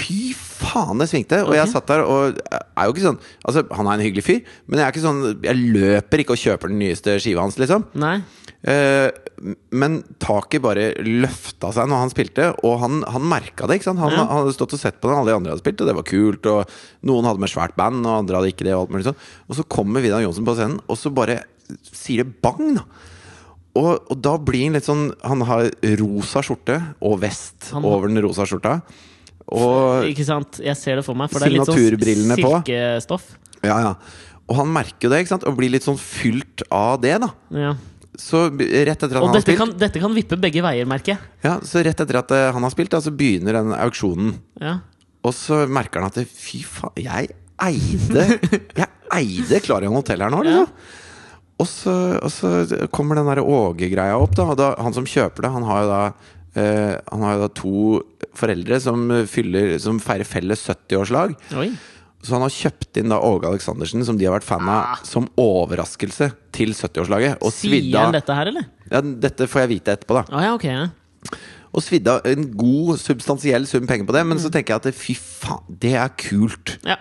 B: fy faen, det svingte! Og jeg satt der og er jo ikke sånn Altså, han er en hyggelig fyr, men jeg er ikke sånn Jeg løper ikke og kjøper den nyeste skiva hans, liksom.
A: Nei.
B: Eh, men taket bare løfta seg når han spilte, og han, han merka det. ikke sant? Han,
A: Ja.
B: han hadde stått og sett på det, alle de andre hadde spilt, og det var kult. Og noen hadde med svært band, og andre hadde ikke det. Og alt mulig sånn Og så kommer Vidar Johnsen på scenen, og så bare sier det bang! da og, og da blir han litt sånn Han har rosa skjorte og vest
A: Han-
B: over den rosa skjorta. Og
A: Ikke sant? Jeg ser det for meg. For det er litt sånn
B: Signaturbrillene på.
A: silkestoff.
B: Ja, ja Og han merker jo det, ikke sant? Og blir litt sånn fylt av det, da.
A: Ja.
B: Så rett etter at han
A: Og
B: har
A: dette
B: spilt
A: kan, dette kan vippe begge veier, merker jeg.
B: Ja, Så rett etter at eh, han har spilt, da, så begynner den auksjonen.
A: Ja.
B: Og så merker han at det- fy faen, jeg eide Jeg eide Clarion Hotel her nå,
A: Ja.
B: liksom. Og så, og så kommer den der Åge-greia opp, da. Og da, han som kjøper det, han har jo da eh, han har jo da to foreldre som, fyller, som feirer felles 70-årslag.
A: Oi.
B: Så han har kjøpt inn da Åge Aleksandersen, som de har vært fan av, som overraskelse til 70-årslaget. Og
A: Ah. Sier han
B: svidda
A: dette her, eller?
B: ja, Dette får jeg vite etterpå, da.
A: Å ja, ok. Ja.
B: Og svidde av en god, substansiell sum penger på det. Men
A: Mm.
B: så tenker jeg at det- fy faen, det er kult.
A: ja.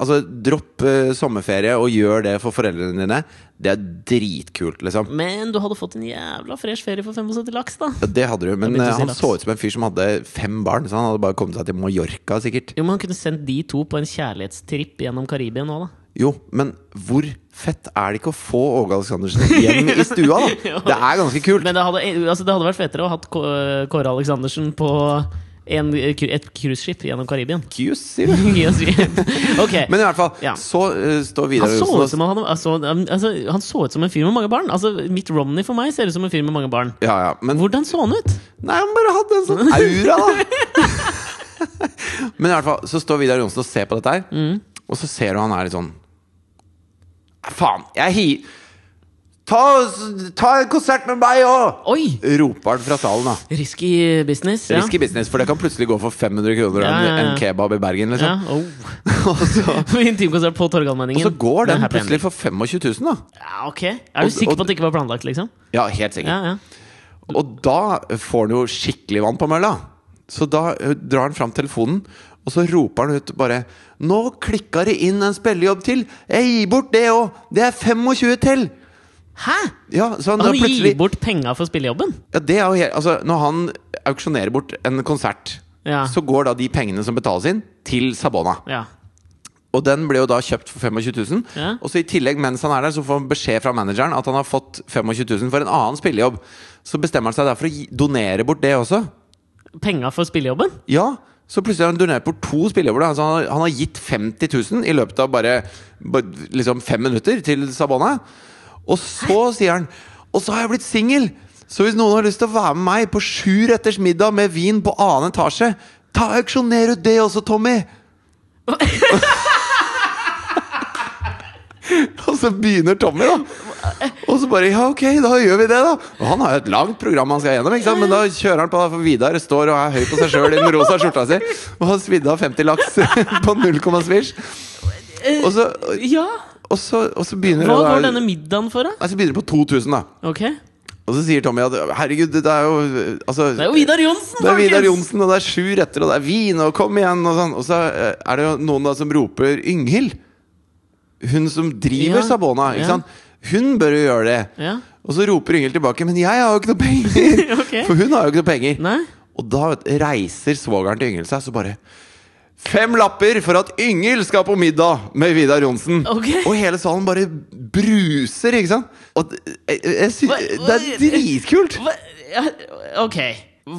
B: Altså, Dropp eh, sommerferie og gjør det for foreldrene dine. Det er dritkult, liksom.
A: Men du hadde fått en jævla fresh ferie for 75 laks, da.
B: Ja, Det hadde du, men
A: Jeg begynte å
B: eh,
A: si
B: han
A: laks.
B: så ut som en fyr som hadde fem barn. Så han hadde bare kommet seg til Mallorca, sikkert.
A: Jo, men Han kunne sendt de to på en kjærlighetstripp gjennom Karibia nå, da.
B: Jo, men hvor fett er det ikke å få Åge Aleksandersen hjem i stua, da? Det er ganske kult.
A: Men det hadde, altså, det hadde vært fetere å ha hatt K- Kåre Aleksandersen på en, et cruiseskip gjennom Karibia.
B: Jøss, sier du.
A: ok.
B: Men i hvert fall,
A: Ja.
B: så eh, står Vidar
A: Han så, ut
B: Johnsen og
A: som han, hadde- altså, um, altså, han så ut som en fyr med mange barn. Altså, Mitt Romney for meg ser ut som en fyr med mange barn.
B: ja, ja, men
A: Hvordan så han ut?
B: Nei, han bare hadde en sånn aura, da. Men i hvert fall så står Vidar Johnsen og ser på dette her,
A: Mm.
B: og så ser du han er litt sånn Faen, jeg hi... Ta, ta en konsert med meg òg!
A: Oi!
B: Roper han fra salen, da.
A: Risky business. Ja.
B: Risky business, for det kan plutselig gå for 500 kroner
A: Ja, ja, ja.
B: en- en kebab i Bergen,
A: ja.
B: liksom.
A: Oh.
B: og, så,
A: Intimkonsert på
B: og
A: Torgallmenningen.
B: så går den
A: Med happy
B: plutselig for 25 000, da.
A: ending. ja, Ok, Er du
B: Og-
A: sikker
B: og-
A: på at det ikke var planlagt, liksom?
B: Ja, helt sikkert.
A: Ja, ja.
B: Og da får han jo skikkelig vann på mølla. Så da ø, drar han fram telefonen, og så roper han ut bare Nå klikka det inn en spillejobb til! Jeg gir bort det òg! Det er 25 til!
A: Hæ?!
B: Ja, så han, da
A: Han
B: plutselig
A: gir bort penga for spillejobben?
B: ja, det er jo helt, altså, Når han auksjonerer bort en konsert,
A: Ja.
B: så går da de pengene som betales inn, til Sabona.
A: ja.
B: Og den ble jo da kjøpt for 25 000.
A: Ja.
B: Og så i tillegg, mens han er der, så får han beskjed fra manageren at han har fått 25 000 for en annen spillejobb. Så bestemmer han seg der for å gi- donere bort det også.
A: Penga for spillejobben?
B: Ja, så plutselig har han donert bort to spillejobber. da. Altså han, har- han har gitt 50 000 i løpet av bare, bare liksom fem minutter til Sabona. Og så sier han Og så har jeg blitt singel! Så hvis noen har lyst til å være med meg på sju retters middag med vin på annen etasje, ta auksjoner ut det også, Tommy! Og så begynner Tommy, da. Og så bare Ja, ok, da gjør vi det, da. Og han har jo et langt program han skal gjennom, ikke sant? men da kjører han på, for Vidar står og er høy på seg sjøl i den rosa skjorta si, og har svidd av 50 laks på null komma svisj. Og så
A: Ja!
B: Og så, og så begynner
A: Hva
B: det
A: går
B: der-
A: denne middagen for, da?
B: Nei, så begynner det på 2000, da.
A: Ok Det
B: Og så sier Tommy at herregud, det er jo altså,
A: er jo Vidar Johnsen,
B: Det er
A: folkens!
B: Vidar Johnsen, og det er sju retter, og det er vin, og kom igjen, og sånn. Og så eh, er det jo noen da som roper Ynghild. Hun som driver
A: Ja,
B: Sabona, ikke
A: ja.
B: sant. Hun bør jo gjøre det.
A: Ja,
B: Og så roper Ynghild tilbake, men jeg har jo ikke noe penger!
A: ok
B: For hun har jo ikke noe penger.
A: Nei?
B: Og da vet, du, reiser svogeren til Ynghild seg, så bare Fem lapper for at Ynghild skal på middag med Vidar Johnsen!
A: Ok.
B: Og hele salen bare bruser, ikke sant? Og det, jeg, jeg sy-
A: Hva- hva-
B: det er dritkult!
A: Hva? Ja, ok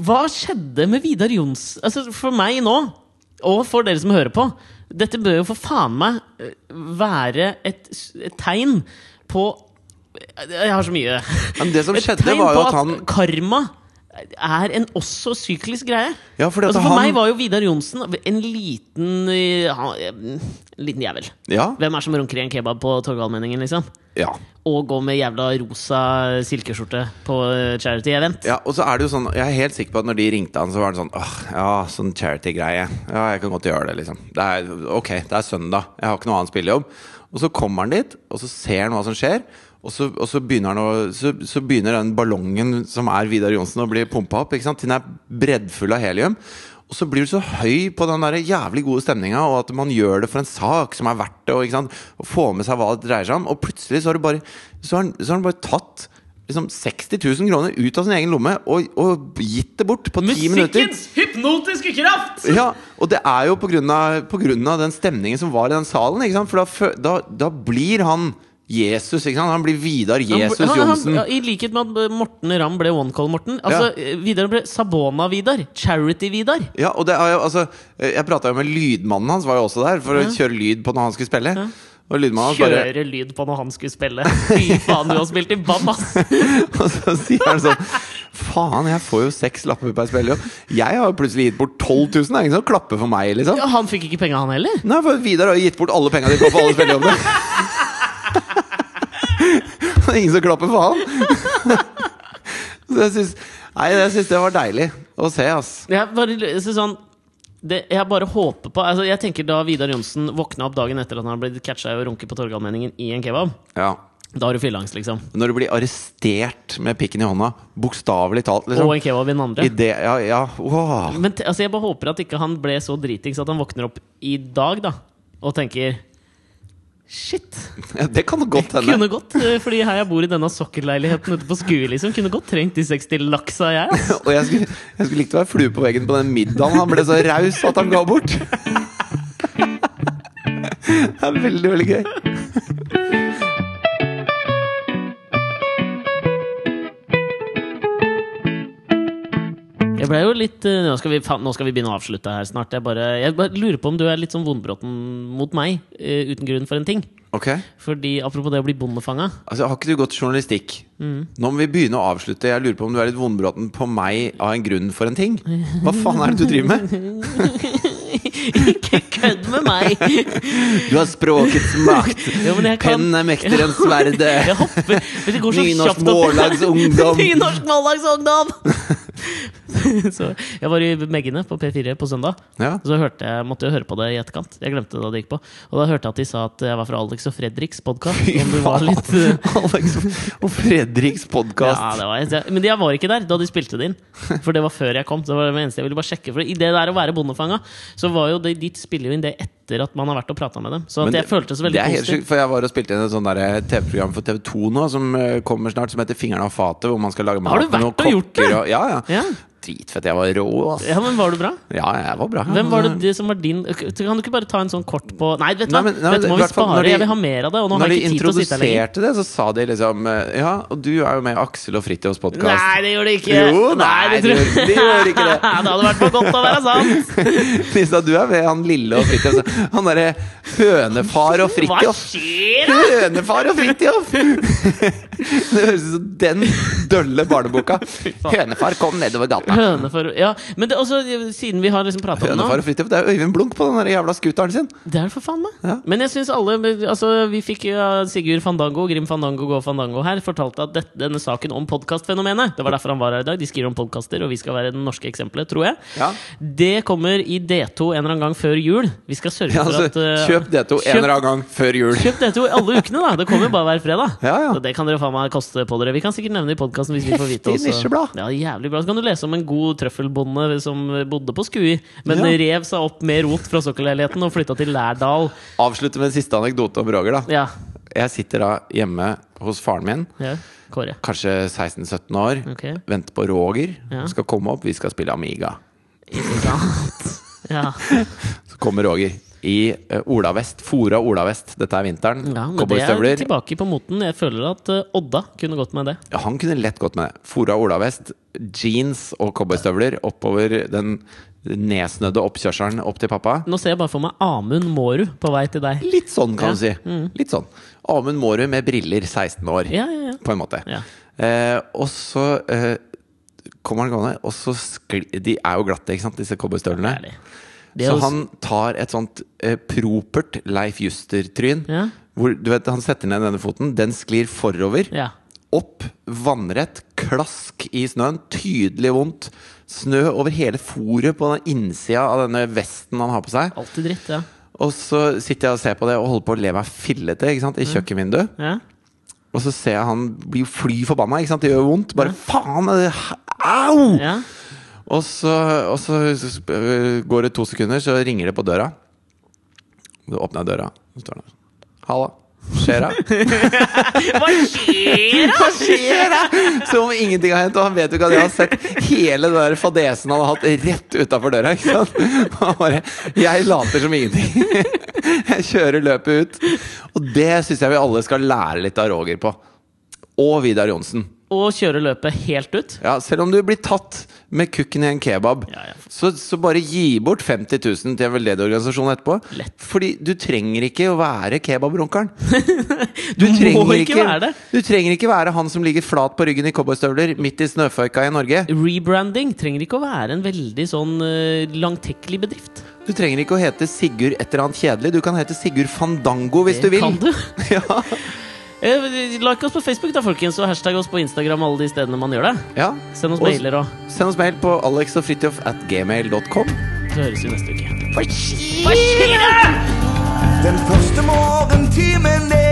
A: Hva skjedde med Vidar Johnsen? Altså, for meg nå, og for dere som hører på Dette bør jo for faen meg eh, være et, s- et tegn på eh, Jeg har så mye
B: Men det som
A: Et
B: skjedde,
A: tegn
B: var jo
A: på
B: at han
A: karma er en også syklisk greie.
B: Ja, fordi at
A: altså, for
B: han-
A: meg var jo Vidar Johnsen en liten eh, han- En liten jævel.
B: Ja.
A: Hvem er som runker i en kebab på Torgallmenningen, liksom?
B: ja.
A: Og går med jævla rosa silkeskjorte på eh, charity event.
B: Ja, og så er det jo sånn Jeg er helt sikker på at når de ringte han, så var han sånn Åh, ja, sånn charity-greie. Ja, jeg kan godt gjøre det, liksom. Det er, ok, det er søndag. Jeg har ikke noe annen spillejobb. Og så kommer han dit, og så ser han hva som skjer. Og så, og så, begynner, han å, så, så begynner den ballongen som er Vidar Johnsen, å bli pumpa opp. Ikke sant? Den er breddfull av helium. Og så blir du så høy på den der jævlig gode stemninga, og at man gjør det for en sak som er verdt det, og, ikke sant? og får med seg hva det dreier seg om. Og plutselig så har du bare, så har han, så har han bare tatt liksom 60 000 kroner ut av sin egen lomme og, og gitt det bort på ti minutter.
A: hypnotiske kraft!
B: Ja, og det er jo på grunn, av, på grunn av den stemningen som var i den salen. Ikke sant? For da, fø- da, da blir han Jesus. Ikke sant? Han blir Vidar Jesus
A: han, han,
B: Johnsen.
A: ja, I likhet med at eh, Morten Ramm ble One Call Morten. Altså, eh, Vidar ble Sabona-Vidar. Charity-Vidar.
B: Ja, og det er jo, altså, eh, jeg prata jo med lydmannen hans, var jo også der, for å kjøre lyd på når han skulle spille. Og lydmannen hans bare
A: Kjøre lyd på når han skulle spille. Fy faen, du har spilt i BAM, ass!
B: Og så sier han sånn Faen, jeg får jo seks lapper per spillejobb. Jeg har jo plutselig gitt bort 12 000. Det er ingen som klapper for meg, liksom.
A: Ja, Han fikk ikke penga, han heller.
B: Nei, for Vidar har jo gitt bort alle penga de får på alle spillejobbene. Det er ingen som klapper for han. Så jeg syns Nei, jeg syns det var deilig å se, ass.
A: Jeg bare, jeg synes sånn, det, jeg bare håper på altså, Jeg tenker Da Vidar Johnsen våkna opp dagen etter at han har blitt catcha i å runke på Torgallmenningen i en kebab,
B: Ja.
A: da er du fylleangst, liksom.
B: Når du blir arrestert med pikken i hånda, bokstavelig talt,
A: Og
B: liksom.
A: en kebab i den andre.
B: I det, ja, ja, wow.
A: Men te, altså, jeg bare håper at ikke han ble så dritings at han våkner opp i dag da og tenker Shit!
B: ja, det kan godt hende.
A: Kunne godt, eh, fordi her jeg bor i denne sokkelleiligheten ute på Skue, liksom. Kunne godt trengt de 60 laksa, jeg. altså." ass.
B: Og jeg skulle, jeg skulle likt å være flue på veggen på den middagen han ble så raus at han ga bort. Det er veldig, veldig gøy.
A: Jeg ble jo litt eh, nå skal, vi, faen, nå skal vi begynne å avslutte her snart. Jeg bare, jeg bare lurer på om du er litt sånn vondbråten mot meg, eh, uten grunn for en ting.
B: Ok
A: Fordi Apropos det å bli bondefanga.
B: Altså, Har ikke du gått journalistikk?
A: Mm.
B: Nå må vi begynne å avslutte. Jeg lurer på om du er litt vondbråten på meg av en grunn for en ting? Hva faen er det du driver med?
A: Ikke kødd med meg!
B: Du har språkets makt.
A: Ja, men jeg kan
B: Pennen er mektigere enn sverdet.
A: Jeg hopper Men det går så
B: Nynorsk
A: kjapt opp.
B: mållagsungdom.
A: Nynorsk mållagsungdom! så jeg var i Meggene på P4 på søndag.
B: Ja.
A: Og så hørte jeg, måtte jeg høre på det i etterkant. Jeg glemte det da det gikk på. Og da hørte jeg at de sa at jeg var fra Alex og Fredriks podkast.
B: Fy
A: Om du var
B: faen.
A: litt eh,
B: Alex og Fredriks
A: ja,
B: podkast.
A: det var, jeg- men jeg var ikke der da de spilte det inn. For det var før jeg kom. Så det var det eneste jeg ville bare sjekke For I det der å være bondefanga, så var jo det, de spiller jo inn det etter at man har vært og prata med dem. Så at
B: Men
A: jeg følte så
B: det er
A: veldig
B: helt
A: positiv.
B: sjukt, for jeg var og spilte inn et sånt der TV-program for TV2 nå, som eh, kommer snart, som heter 'Fingrene av fatet', hvor man skal lage mat
A: Har du
B: med noen
A: vært og gjort
B: kokker
A: det?
B: Og, ja, ja.
A: Ja.
B: Dritfett. Jeg var rå, ass.
A: ja, men var du bra?
B: Ja, jeg var bra.
A: Hvem var det de som var din Kan du ikke bare ta en sånn kort på Nei, vet du
B: eh, Nei,
A: hva,
B: men- nei, men
A: dette må
B: i
A: vi
B: hvert fall
A: spare.
B: når de-
A: jeg vil ha mer av det, og nå har
B: Når de
A: jeg ikke tid til å sitte her lenger.
B: introduserte det, så sa de liksom eh, Ja, og du er jo med i Aksel og Fritjofs
A: Nei,
B: podkast.
A: det gjorde de ikke!
B: Jo, nei,
A: tror-
B: de gjorde- de gjorde ikke det.
A: det hadde vært for godt å være sant!
B: De sa du er med han lille og Fritjof. Så Han derre hønefar og
A: Hva
B: Fritjof.
A: skjer, da?!
B: Hønefar og Fritjof! Det høres ut som den dølle barneboka. Hønefar kom nedover gata.
A: Hønefar Ja, men det, også, siden vi har liksom prata om det nå
B: Hønefar og Fridtjof, det er jo Øyvind Blunk på den der jævla scooteren sin!
A: Det er det for faen meg.
B: Ja.
A: Men jeg syns alle Altså, vi fikk ja, Sigurd Fandango, Grim Fandango Gå Fandango her, fortalte at dette, denne saken om podkastfenomenet Det var derfor han var her i dag. De skriver om podkaster, og vi skal være det norske eksempelet, tror jeg.
B: Ja.
A: Det kommer i D2 en eller annen gang før jul. Vi skal sørge
B: Ja,
A: for
B: altså,
A: at eh,
B: kjøp D2 en
A: kjøp-
B: eller annen gang før jul!
A: Kjøp D2 i alle ukene, da! Det kommer jo bare hver fredag.
B: Ja, ja.
A: Så det kan dere faen meg koste på dere. Vi kan sikkert nevne det i podkasten hvis vi får vite
B: Heftig nisjeblad.
A: Ja, jævlig bra. Så kan du lese om en god trøffelbonde som bodde på Skui, men
B: Ja.
A: rev seg opp med rot fra sokkelleiligheten og flytta til Lærdal.
B: Avslutte med en siste anekdote om Roger, da.
A: Ja.
B: Jeg sitter da hjemme hos faren min,
A: ja. Kåre.
B: kanskje 16-17 år.
A: Ok.
B: Venter på Roger.
A: Ja.
B: Han Skal komme opp, vi skal spille Amiga.
A: Ikke sant? Ja.
B: Så kommer Roger i uh, olavest. Fora olavest. Dette er vinteren.
A: ja men det er
B: Cowboystøvler.
A: tilbake på moten. Jeg føler at eh, Odda kunne gått med det.
B: Ja, Han kunne lett gått med det. Fora olavest, jeans og cowboystøvler oppover den nedsnødde oppkjørselen opp til pappa.
A: Nå ser jeg bare for meg Amund Mårud på vei til deg.
B: Litt sånn, kan du si. Litt sånn. Amund Mårud med briller, 16 år,
A: Mm. Ja, ja, ja.
B: på en måte.
A: Ja.
B: Eh, og så eh, kommer han gående, og så skli... De er jo glatte, ikke sant, disse cowboystøvlene.
A: Ærlig. Det er
B: Så
A: jo-
B: han tar et sånt eh, propert Leif Juster-tryn.
A: Ja.
B: Hvor du vet, han setter ned denne foten, den sklir forover.
A: Ja.
B: Opp, vannrett, klask i snøen. Tydelig vondt. Snø over hele foret på den innsida av denne vesten han har på seg.
A: Alltid dritt, ja.
B: Og så sitter jeg og ser på det og holder på å le meg fillete ikke sant? i kjøkkenvinduet.
A: ja.
B: Og så ser jeg han blir jo fly forbanna. Ikke sant? Det gjør jo vondt. Bare faen! er det- Au!
A: ja.
B: Og så, og så sp- øh, går det to sekunder, så ringer det på døra. Så åpner jeg døra, så står han der. Halla. Skjer det?
A: Hva skjer, da?
B: Skjer det? Som om ingenting har hendt, og han vet jo ikke at jeg har sett hele den der fadesen han har hatt rett utafor døra. Ikke sant? Og Han bare Jeg later som ingenting. Jeg kjører løpet ut. Og det syns jeg vi alle skal lære litt av Roger på. Og Vidar Johnsen.
A: Og kjøre løpet helt ut?
B: Ja, selv om du blir tatt med kukken i en kebab,
A: Ja, ja.
B: Så, så bare gi bort 50 000 til en veldedig organisasjon etterpå.
A: Lett.
B: Fordi du trenger ikke å være kebabrunkeren. Du
A: må
B: trenger
A: ikke være det.
B: Du trenger ikke være han som ligger flat på ryggen i cowboystøvler midt i snøføyka i Norge.
A: Rebranding trenger ikke å være en veldig sånn eh, langtekkelig bedrift.
B: Du trenger ikke å hete Sigurd et eller annet kjedelig. Du kan hete Sigurd Fandango hvis
A: Det
B: du vil.
A: Kan du?
B: Ja.
A: Eh, Like oss på Facebook, da, folkens, og hashtag oss på Instagram alle de stedene man gjør det.
B: ja.
A: Send oss
B: Og-
A: mailer òg.
B: Send oss mail på alexogfridtjof at gmail.com.
A: Så høres vi neste uke.
C: Den første morgentimen er